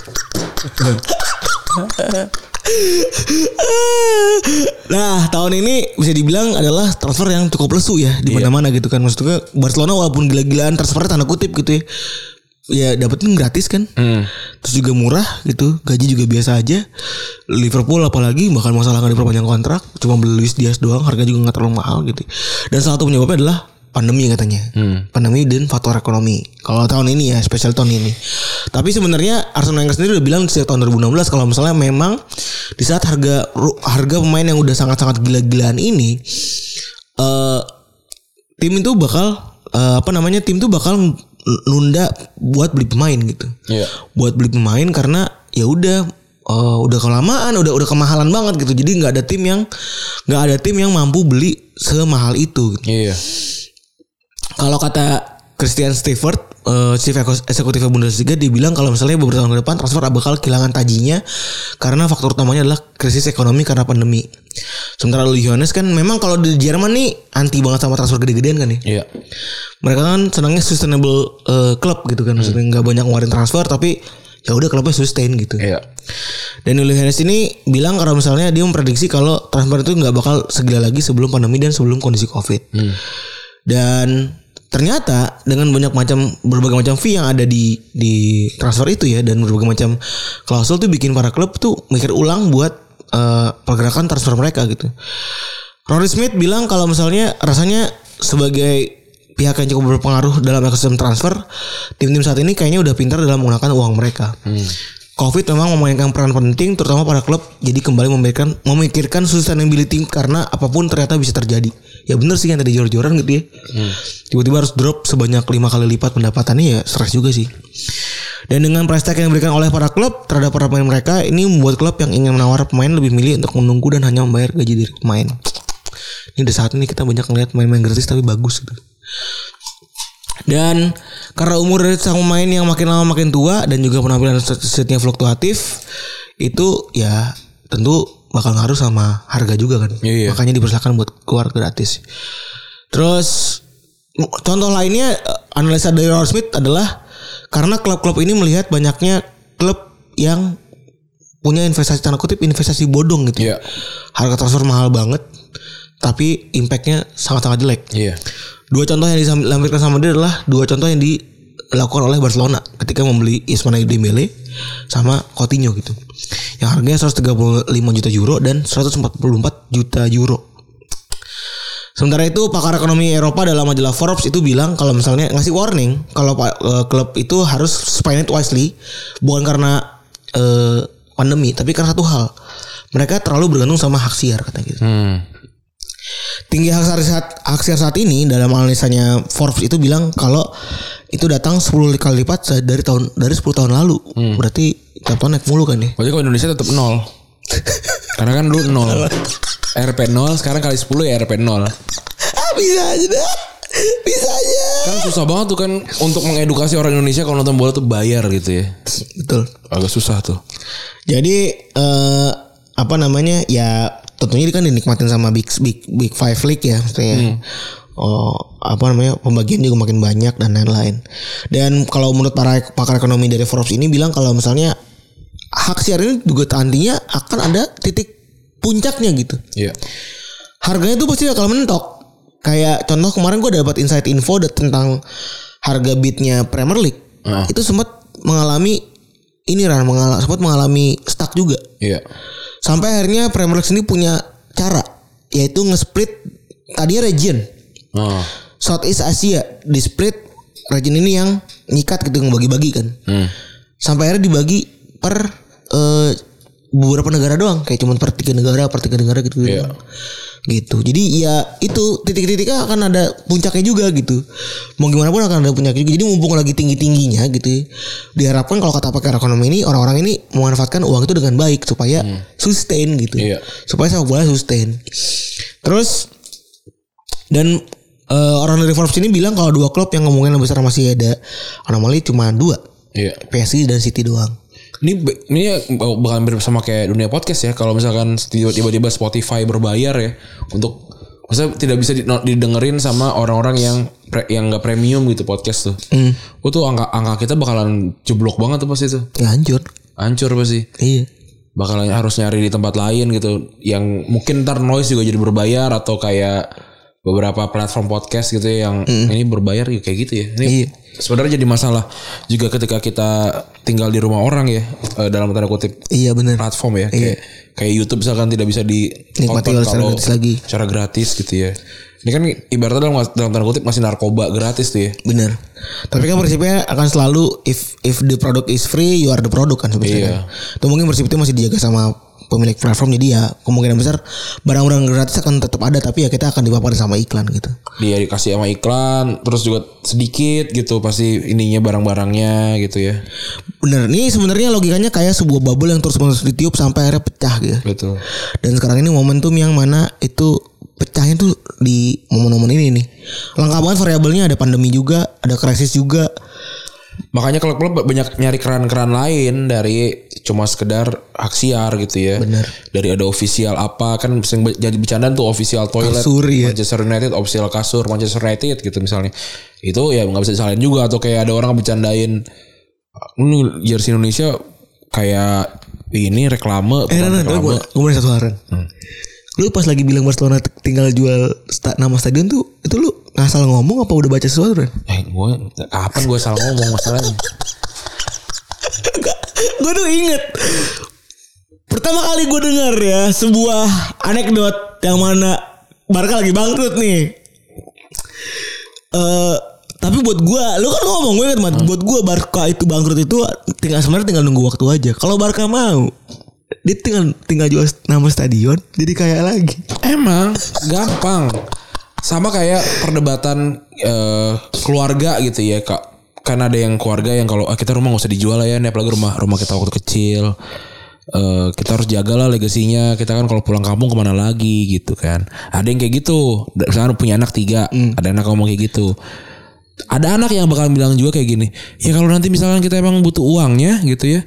B: Nah tahun ini bisa dibilang adalah transfer yang cukup lesu ya di mana-mana gitu kan maksudnya Barcelona walaupun gila-gilaan transfernya tanda kutip gitu ya ya dapetin gratis kan terus juga murah gitu gaji juga biasa aja Liverpool apalagi bahkan masalah nggak diperpanjang kontrak cuma beli Luis Diaz doang harga juga nggak terlalu mahal gitu dan salah satu penyebabnya adalah pandemi katanya pandemi dan faktor ekonomi kalau tahun ini ya spesial tahun ini tapi sebenarnya Arsenal Wenger sendiri udah bilang sejak tahun 2016 kalau misalnya memang di saat harga ru- harga pemain yang udah sangat-sangat gila-gilaan ini eh tim itu bakal eh, apa namanya tim itu bakal n- nunda buat beli pemain gitu
C: Iya.
B: buat beli pemain karena ya udah eh, udah kelamaan udah udah kemahalan banget gitu jadi nggak ada tim yang nggak ada tim yang mampu beli semahal itu gitu.
C: iya
B: kalau kata Christian Stewart eh, chief Ex- eksekutif Bundesliga dibilang kalau misalnya beberapa tahun ke depan transfer bakal kehilangan tajinya karena faktor utamanya adalah krisis ekonomi karena pandemi. Sementara Uli Hoeneß kan memang kalau di Jerman nih anti banget sama transfer gede-gedean kan ya
C: iya
B: mereka kan senangnya sustainable eh, club gitu kan maksudnya nggak banyak ngeluarin transfer tapi ya udah klubnya sustain gitu.
C: Hmm. iya
B: Dan Uli Hoeneß ini bilang kalau misalnya dia memprediksi kalau transfer itu nggak bakal segila lagi sebelum pandemi dan sebelum kondisi covid. Dan ternyata dengan banyak macam berbagai macam fee yang ada di di transfer itu ya dan berbagai macam klausul tuh bikin para klub tuh mikir ulang buat eh, pergerakan transfer mereka gitu. Rory Smith bilang kalau misalnya rasanya sebagai pihak yang cukup berpengaruh dalam ekosistem transfer, tim-tim saat ini kayaknya udah pintar dalam menggunakan uang mereka. Covid memang memainkan peran penting, terutama para klub jadi kembali memberikan memikirkan sustainability karena apapun ternyata bisa terjadi. Ya bener sih yang tadi jor-joran gitu ya. Tiba-tiba harus drop sebanyak lima kali lipat pendapatannya ya stres juga sih. Dan dengan price tag yang diberikan oleh para klub terhadap para pemain mereka, ini membuat klub yang ingin menawar pemain lebih milih untuk menunggu dan hanya membayar gaji dari pemain. Ini udah saat ini kita banyak ngeliat main-main gratis tapi bagus gitu. Dan karena umur dari sang pemain yang makin lama makin tua dan juga penampilan setnya fluktuatif, itu ya tentu bakal ngaruh sama harga juga kan.
C: Iya, iya.
B: Makanya dipersilakan buat keluar gratis. Terus contoh lainnya eh, analisa dari Rory Smith adalah karena klub-klub ini melihat banyaknya klub yang punya investasi tanda kutip investasi bodong gitu.
C: Iya.
B: Harga transfer mahal banget tapi impactnya sangat-sangat jelek.
C: iya
B: Dua contoh yang dilampirkan sama dia adalah dua contoh yang dilakukan oleh Barcelona ketika membeli Ismail Dembele sama Coutinho gitu. Yang harganya 135 juta euro dan 144 juta euro. Sementara itu pakar ekonomi Eropa dalam majalah Forbes itu bilang kalau misalnya ngasih warning kalau pa- eh, klub itu harus spend it wisely bukan karena eh, pandemi tapi karena satu hal mereka terlalu bergantung sama hak siar katanya gitu.
C: Hmm.
B: Tinggi hak siar saat, hak siar saat ini dalam analisanya Forbes itu bilang kalau itu datang 10 kali lipat dari tahun dari 10 tahun lalu. Berarti tiap tahun naik mulu kan ya.
C: Pokoknya kalau Indonesia tetap nol. Karena kan dulu nol. RP nol, sekarang kali 10 ya RP nol.
B: Ah, bisa aja dah. Bisa aja.
C: Kan susah banget tuh kan untuk mengedukasi orang Indonesia kalau nonton bola tuh bayar gitu ya.
B: Betul.
C: Agak susah tuh.
B: Jadi eh, apa namanya ya tentunya ini kan dinikmatin sama big big big five league ya maksudnya. Oh, apa namanya pembagian juga makin banyak dan lain-lain. Dan kalau menurut para ek- pakar ekonomi dari Forbes ini bilang kalau misalnya hak siar ini juga nantinya akan ada titik puncaknya gitu
C: Iya.
B: harganya tuh pasti bakal mentok. Kayak contoh kemarin gue dapat insight info de- tentang harga bidnya Premier League.
C: Ah.
B: Itu sempat mengalami ini Ran mengalami sempat mengalami stuck juga.
C: Iya.
B: Sampai akhirnya Premier League sendiri punya cara yaitu nge-split tadinya region
C: Oh.
B: Southeast Asia di split region ini yang nyikat gitu ngebagi-bagi kan.
C: Hmm.
B: Sampai akhirnya dibagi per eh, beberapa negara doang kayak cuman per tiga negara per tiga negara gitu
C: Iya.
B: gitu jadi ya itu titik-titiknya akan ada puncaknya juga gitu mau gimana pun akan ada puncaknya juga jadi mumpung lagi tinggi tingginya gitu diharapkan kalau kata pakar ekonomi ini orang-orang ini memanfaatkan uang itu dengan baik supaya sustain gitu
C: Hmm. Iya.
B: supaya sepak bola sustain terus dan eh, orang dari Forbes ini bilang kalau dua klub yang kemungkinan besar masih ada anomali cuma dua.
C: Iya.
B: PSG dan City doang.
C: Ini be- ini ya bak- bakal hampir sama kayak dunia podcast ya. Kalau misalkan tiba-tiba Spotify berbayar ya untuk masa tidak bisa di- no- didengerin sama orang-orang yang pre- yang nggak premium gitu podcast tuh. Oh tuh angka angka kita bakalan jeblok banget tuh pasti tuh.
B: Ya hancur.
C: Hancur pasti.
B: Iya.
C: Bakalan harus nyari di tempat lain gitu yang mungkin ntar noise juga jadi berbayar atau kayak beberapa platform podcast gitu ya yang ini berbayar ya kayak gitu ya. Ini
B: Iya.
C: sebenarnya jadi masalah juga ketika kita tinggal di rumah orang ya eh, dalam tanda kutip
B: Iya benar.
C: platform ya kayak kayak YouTube misalkan tidak bisa
B: Nikmati
C: dinikmati
B: oleh secara gratis lagi.
C: secara gratis gitu ya. Ini kan ibaratnya dalam, dalam tanda kutip masih narkoba gratis tuh ya.
B: Benar. Tapi kan prinsipnya akan selalu if if the product is free, you are the product kan
C: Iya.
B: sebenarnya. Itu mungkin prinsip itu masih dijaga sama pemilik platform jadi ya kemungkinan besar barang-barang gratis akan tetap ada tapi ya kita akan dipaparin sama iklan gitu.
C: Dia dikasih sama iklan terus juga sedikit gitu pasti ininya barang-barangnya gitu ya.
B: Bener, ini sebenarnya logikanya kayak sebuah bubble yang terus-menerus ditiup sampai akhirnya pecah gitu.
C: Betul.
B: Dan sekarang ini momentum yang mana itu pecahnya tuh di momen-momen ini nih. Lengkap banget variabelnya ada pandemi juga, ada krisis juga.
C: Makanya kalau klub banyak nyari keran-keran lain dari cuma sekedar hak siar gitu ya.
B: Bener.
C: Dari ada official apa kan sering be- jadi bercandaan tuh official toilet.
B: Kasur, iya.
C: Manchester United official kasur Manchester United gitu misalnya. Itu ya nggak bisa disalahin juga atau kayak ada orang bercandain "Ah, ini jersey Indonesia kayak ini reklame,
B: Eh, Ren,
C: peran
B: Ren, tapi gue gue mau nanya satu hal Ren. Lu pas lagi bilang Barcelona t- tinggal jual sta- nama stadion tuh, itu lu ngasal ngomong apa udah baca sesuatu Ren?
C: Eh gue kapan gue salah ngomong masalahnya?
B: gue Eh, tuh inget pertama kali gue dengar ya sebuah anekdot yang mana Barca lagi bangkrut nih. Eh tapi buat gue, lu kan ngomong gue inget Mat. buat gue Barca itu bangkrut itu tinggal sebenarnya tinggal nunggu waktu aja. Kalau Barca mau, dia tinggal tinggal jual nama stadion, jadi kayak lagi.
C: Emang gampang. Sama kayak perdebatan eh, keluarga gitu ya, Kak. Kan ada yang keluarga yang kalau ah, kita rumah nggak usah dijual lah ya, nih apalagi rumah rumah kita waktu kecil. Eh, kita harus jagalah legasinya. Kita kan kalau pulang kampung kemana lagi gitu kan. Ada yang kayak gitu. Da- Misalnya punya anak tiga, ada anak ngomong kayak gitu. Ada anak yang bakal bilang juga kayak gini. Ya kalau nanti misalkan kita emang butuh uangnya gitu ya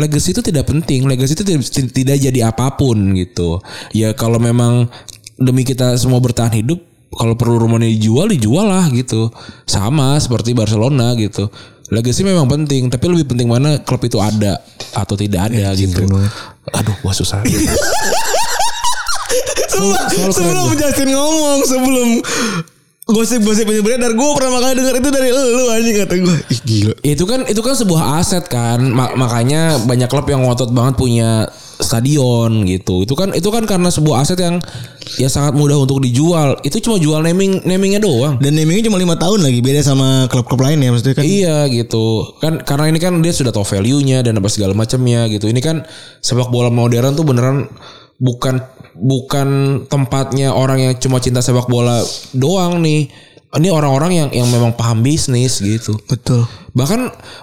C: legacy itu tidak penting legacy itu tidak, tidak jadi apapun gitu ya kalau memang demi kita semua bertahan hidup kalau perlu rumahnya dijual dijual lah gitu sama seperti Barcelona gitu legacy memang penting tapi lebih penting mana klub itu ada atau tidak ada gitu aduh wah susah
B: Sumpah,
C: selalu keren
B: sebelum Justin ngomong, sebelum gosip-gosip ini beredar, gue pertama kali denger itu dari lu anjing kata gue. Ih gila.
C: Ya, itu kan itu kan sebuah aset kan Ma- makanya banyak klub yang ngotot banget punya stadion gitu itu kan itu kan karena sebuah aset yang ya sangat mudah untuk dijual itu cuma jual naming namingnya doang
B: Dan namingnya cuma lima tahun lagi beda sama klub-klub lain ya maksudnya kan.
C: Iya gitu kan karena ini kan dia sudah tahu value-nya dan apa segala macamnya gitu. Ini kan sepak bola modern tuh beneran bukan bukan tempatnya orang yang cuma cinta sepak bola doang nih. Ini orang-orang yang yang memang paham bisnis gitu.
B: Betul.
C: Bahkan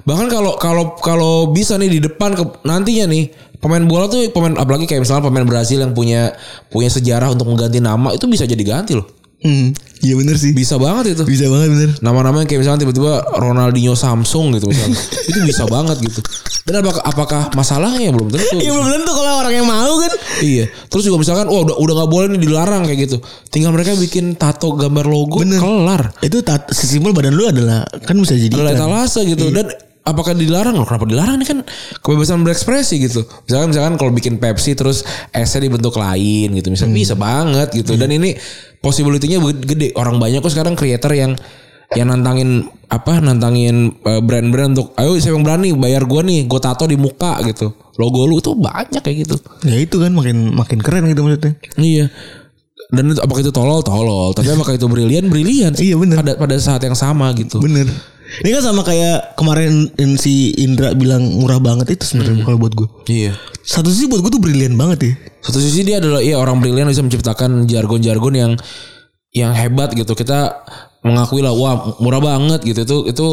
C: bahkan kalau kalau kalau bisa nih di depan ke, nantinya nih pemain bola tuh pemain apalagi kayak misalnya pemain Brazil yang punya punya sejarah untuk mengganti nama itu bisa jadi ganti loh.
B: Hmm, iya bener sih.
C: Bisa banget itu
B: Bisa banget bener.
C: nama-nama yang kayak misalnya tiba-tiba Ronaldinho Samsung gitu misalnya itu bisa banget gitu dan apakah, apakah masalahnya ya? belum tentu
B: Iya belum tentu kalau orang yang mau kan.
C: iya terus juga misalkan oh udah udah nggak boleh nih dilarang kayak gitu tinggal mereka bikin tato gambar logo
B: Bener.
C: kelar
B: Itu tat, simbol badan lu adalah kan bisa jadi. iklan.
C: ada etalase gitu dan apakah dilarang loh kenapa dilarang ini kan kebebasan berekspresi gitu misalkan misalkan kalau bikin Pepsi terus esnya dibentuk lain gitu misalnya bisa banget gitu dan ini possibility-nya be- gede orang banyak kok sekarang creator yang yang nantangin apa nantangin eh, brand-brand untuk ayo siapa yang berani bayar gua nih gua tato di muka gitu logo lu itu banyak kayak gitu
B: Ya itu kan makin makin keren gitu maksudnya.
C: Iya. Dan itu, apakah itu tolol tolol, tapi apakah itu brilian brilian.
B: Iya, bener.
C: Pada pada saat yang sama gitu.
B: Bener. Ini kan sama kayak kemarin si Indra bilang murah banget itu sebenarnya kalau buat gue.
C: Iya.
B: Satu sisi buat gue tuh brilian banget ya.
C: Satu sisi dia adalah ya orang brilian bisa menciptakan jargon-jargon yang yang hebat gitu. Kita mengakui lah wah murah banget gitu itu itu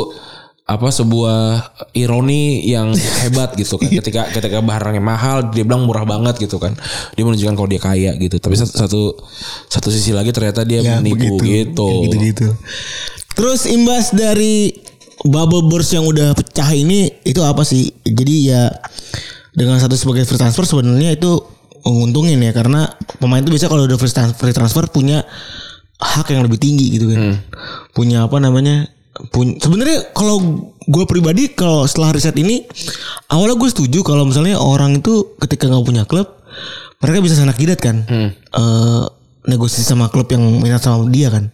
C: apa sebuah ironi yang hebat gitu kan ketika ketika barangnya mahal dia bilang murah banget gitu kan dia menunjukkan kalau dia kaya gitu tapi satu satu, satu sisi lagi ternyata dia
B: Ya,
C: menipu gitu,
B: Gitu gitu. Terus imbas dari bubble burst yang udah pecah ini itu apa sih? Jadi ya dengan satu sebagai free transfer sebenarnya itu menguntungin ya karena pemain itu biasanya kalau udah free trans- free transfer, punya hak yang lebih tinggi gitu kan. Punya apa namanya? Punya sebenarnya kalau gue pribadi kalau setelah riset ini awalnya gue setuju kalau misalnya orang itu ketika nggak punya klub mereka bisa sanak jidat kan Eh, negosiasi sama klub yang minat sama dia kan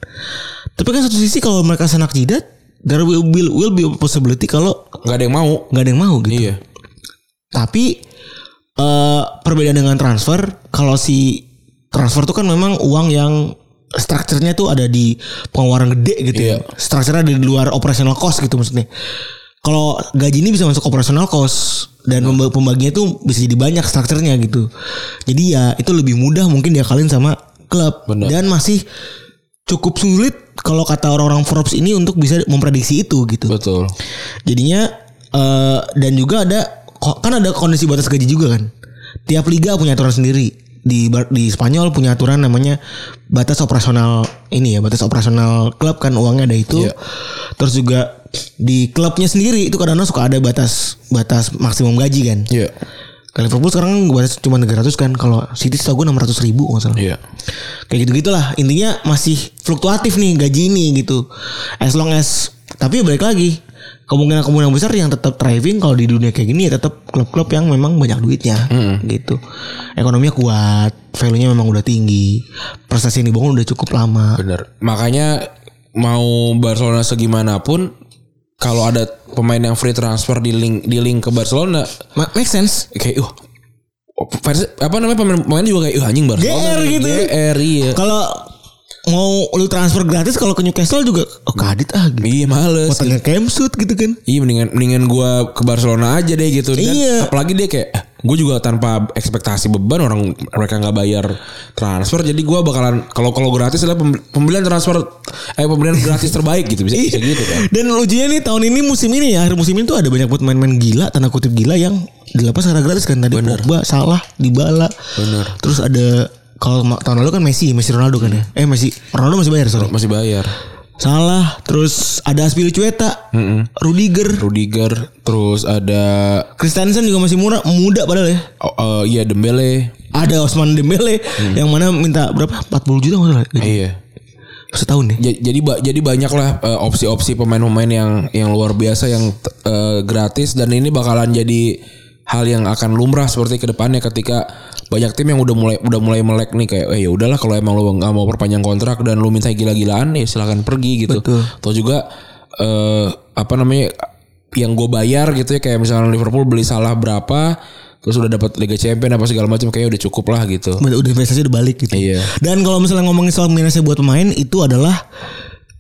B: tapi kan satu sisi kalau mereka sanak jidat there will be, will be a possibility kalau
C: nggak ada yang mau
B: nggak ada yang mau gitu
C: iya
B: tapi eh perbedaan dengan transfer kalau si transfer tuh kan memang uang yang strukturnya tuh ada di pengeluaran gede gitu
C: Iya.
B: ya. Strukturnya ada di luar operational cost gitu maksudnya. Kalau gaji ini bisa masuk operational cost
C: Iya.
B: dan pemba- pembaginya tuh bisa jadi banyak strukturnya gitu. Jadi ya itu lebih mudah mungkin diakalin sama klub
C: Benar.
B: dan masih cukup sulit kalau kata orang-orang Forbes ini untuk bisa memprediksi itu gitu.
C: betul
B: Jadinya eh dan juga ada kan ada kondisi batas gaji juga kan. Tiap liga punya aturan sendiri. Di Bar- di Spanyol punya aturan namanya batas operasional ini ya, batas operasional klub kan uangnya ada itu.
C: Iya.
B: Terus juga di klubnya sendiri itu kadang-kadang suka ada batas batas maksimum gaji kan.
C: iya
B: Kalau Liverpool sekarang batas cuma 300 kan, kalau City setahu gue 600 ribu nggak salah
C: iya
B: kayak gitu gitulah intinya masih fluktuatif nih gaji ini gitu as long as tapi balik lagi kemungkinan kemungkinan besar yang tetap thriving kalau di dunia kayak gini ya tetap klub-klub yang memang banyak duitnya
C: Hmm.
B: gitu ekonominya kuat value nya memang udah tinggi prestasi yang dibangun udah cukup lama
C: Bener. Makanya mau Barcelona segimanapun kalau ada pemain yang free transfer di link di link ke Barcelona
B: Ma- make sense
C: kayak uh fans- apa namanya pemain pemain juga kayak uh anjing Barcelona
B: GR
C: nih,
B: gitu.
C: GR iya.
B: kalau mau lu transfer gratis kalau ke Newcastle juga oh kadit ah gitu
C: Iya males.
B: Potongnya camsuit gitu kan
C: Iya mendingan mendingan gua ke Barcelona aja deh gitu dan
B: Iya.
C: apalagi dia kayak eh, gua juga tanpa ekspektasi beban orang mereka nggak bayar transfer jadi gua bakalan kalau kalau gratis adalah pem- pembelian transfer eh pembelian gratis terbaik gitu bisa
B: Iya.
C: bisa gitu kan.
B: Dan lucunya nih tahun ini musim ini ya akhir musim ini tuh ada banyak buat main-main gila tanda kutip gila yang dilepas karena gratis kan tadi Pogba, Salah, Dybala.
C: Bener.
B: Terus ada kalau ma- tahun lalu kan Messi, Messi Ronaldo kan ya.
C: Hmm.
B: Eh Messi, Ronaldo masih bayar sorry.
C: Masih bayar.
B: Salah, terus ada Aspilicueta,
C: Hmm.
B: Rudiger,
C: Rudiger, terus ada
B: Kristensen juga masih murah, muda padahal ya.
C: oh, eh, iya Dembele.
B: Ada Osman Dembele yang mana minta berapa? 40 juta masalah.
C: Hmm. Iya.
B: Setahun ya. deh.
C: Ja- Jadi ba- jadi banyaklah eh, opsi-opsi pemain-pemain yang yang luar biasa yang t- eh, gratis dan ini bakalan jadi hal yang akan lumrah seperti kedepannya ketika banyak tim yang udah mulai udah mulai melek nih kayak eh ya udahlah kalau emang lo nggak mau perpanjang kontrak dan lo minta gila-gilaan ya silakan pergi gitu.
B: Betul.
C: Atau juga eh apa namanya yang gue bayar gitu ya kayak misalnya Liverpool beli salah berapa terus udah dapat Liga Champion apa segala macam kayaknya udah cukup lah gitu.
B: Udah udah investasi udah balik gitu.
C: Iya.
B: Dan kalau misalnya ngomongin soal minusnya buat pemain itu adalah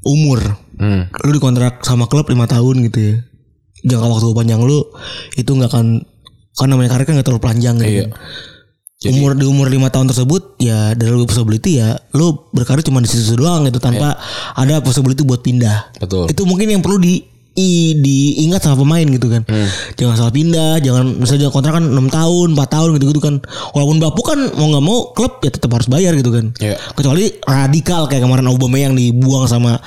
B: umur.
C: Hmm.
B: lu dikontrak sama klub lima tahun gitu ya jangka waktu panjang lu itu nggak akan kan namanya karir kan nggak terlalu panjang gitu
C: Iya.
B: kan. umur di umur lima tahun tersebut ya dari lu possibility ya lu berkarir cuma di situ doang gitu tanpa ada possibility buat pindah
C: Betul.
B: itu mungkin yang perlu di i- diingat sama pemain gitu kan jangan salah pindah jangan misalnya kontrak kan 6 tahun 4 tahun gitu gitu kan walaupun bapuk kan mau nggak mau klub ya tetap harus bayar gitu kan
C: Iya.
B: kecuali radikal kayak kemarin Aubameyang yang dibuang sama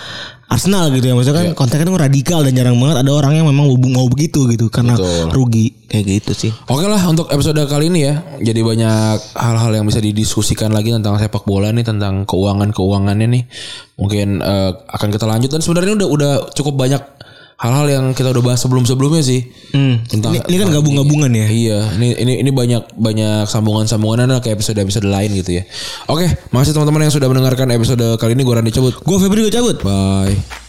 B: Arsenal gitu ya maksudnya kan kontaknya itu radikal dan jarang banget ada orang yang memang mau mau begitu gitu karena
C: Betul.
B: rugi kayak gitu sih
C: Oke lah untuk episode kali ini ya. Jadi banyak hal-hal yang bisa didiskusikan lagi tentang sepak bola nih, tentang keuangan-keuangannya nih. Mungkin eh, akan kita lanjut dan sebenarnya udah udah cukup banyak hal-hal yang kita udah bahas sebelum-sebelumnya sih. Tentang
B: ini, ini kan gabung-gabungan ya
C: Iya, ini ini ini banyak banyak sambungan-sambungan ada kayak episode-episode lain gitu ya. Oke, makasih teman-teman yang sudah mendengarkan episode kali ini gua Randy cabut.
B: gue Febri gue cabut
C: Bye.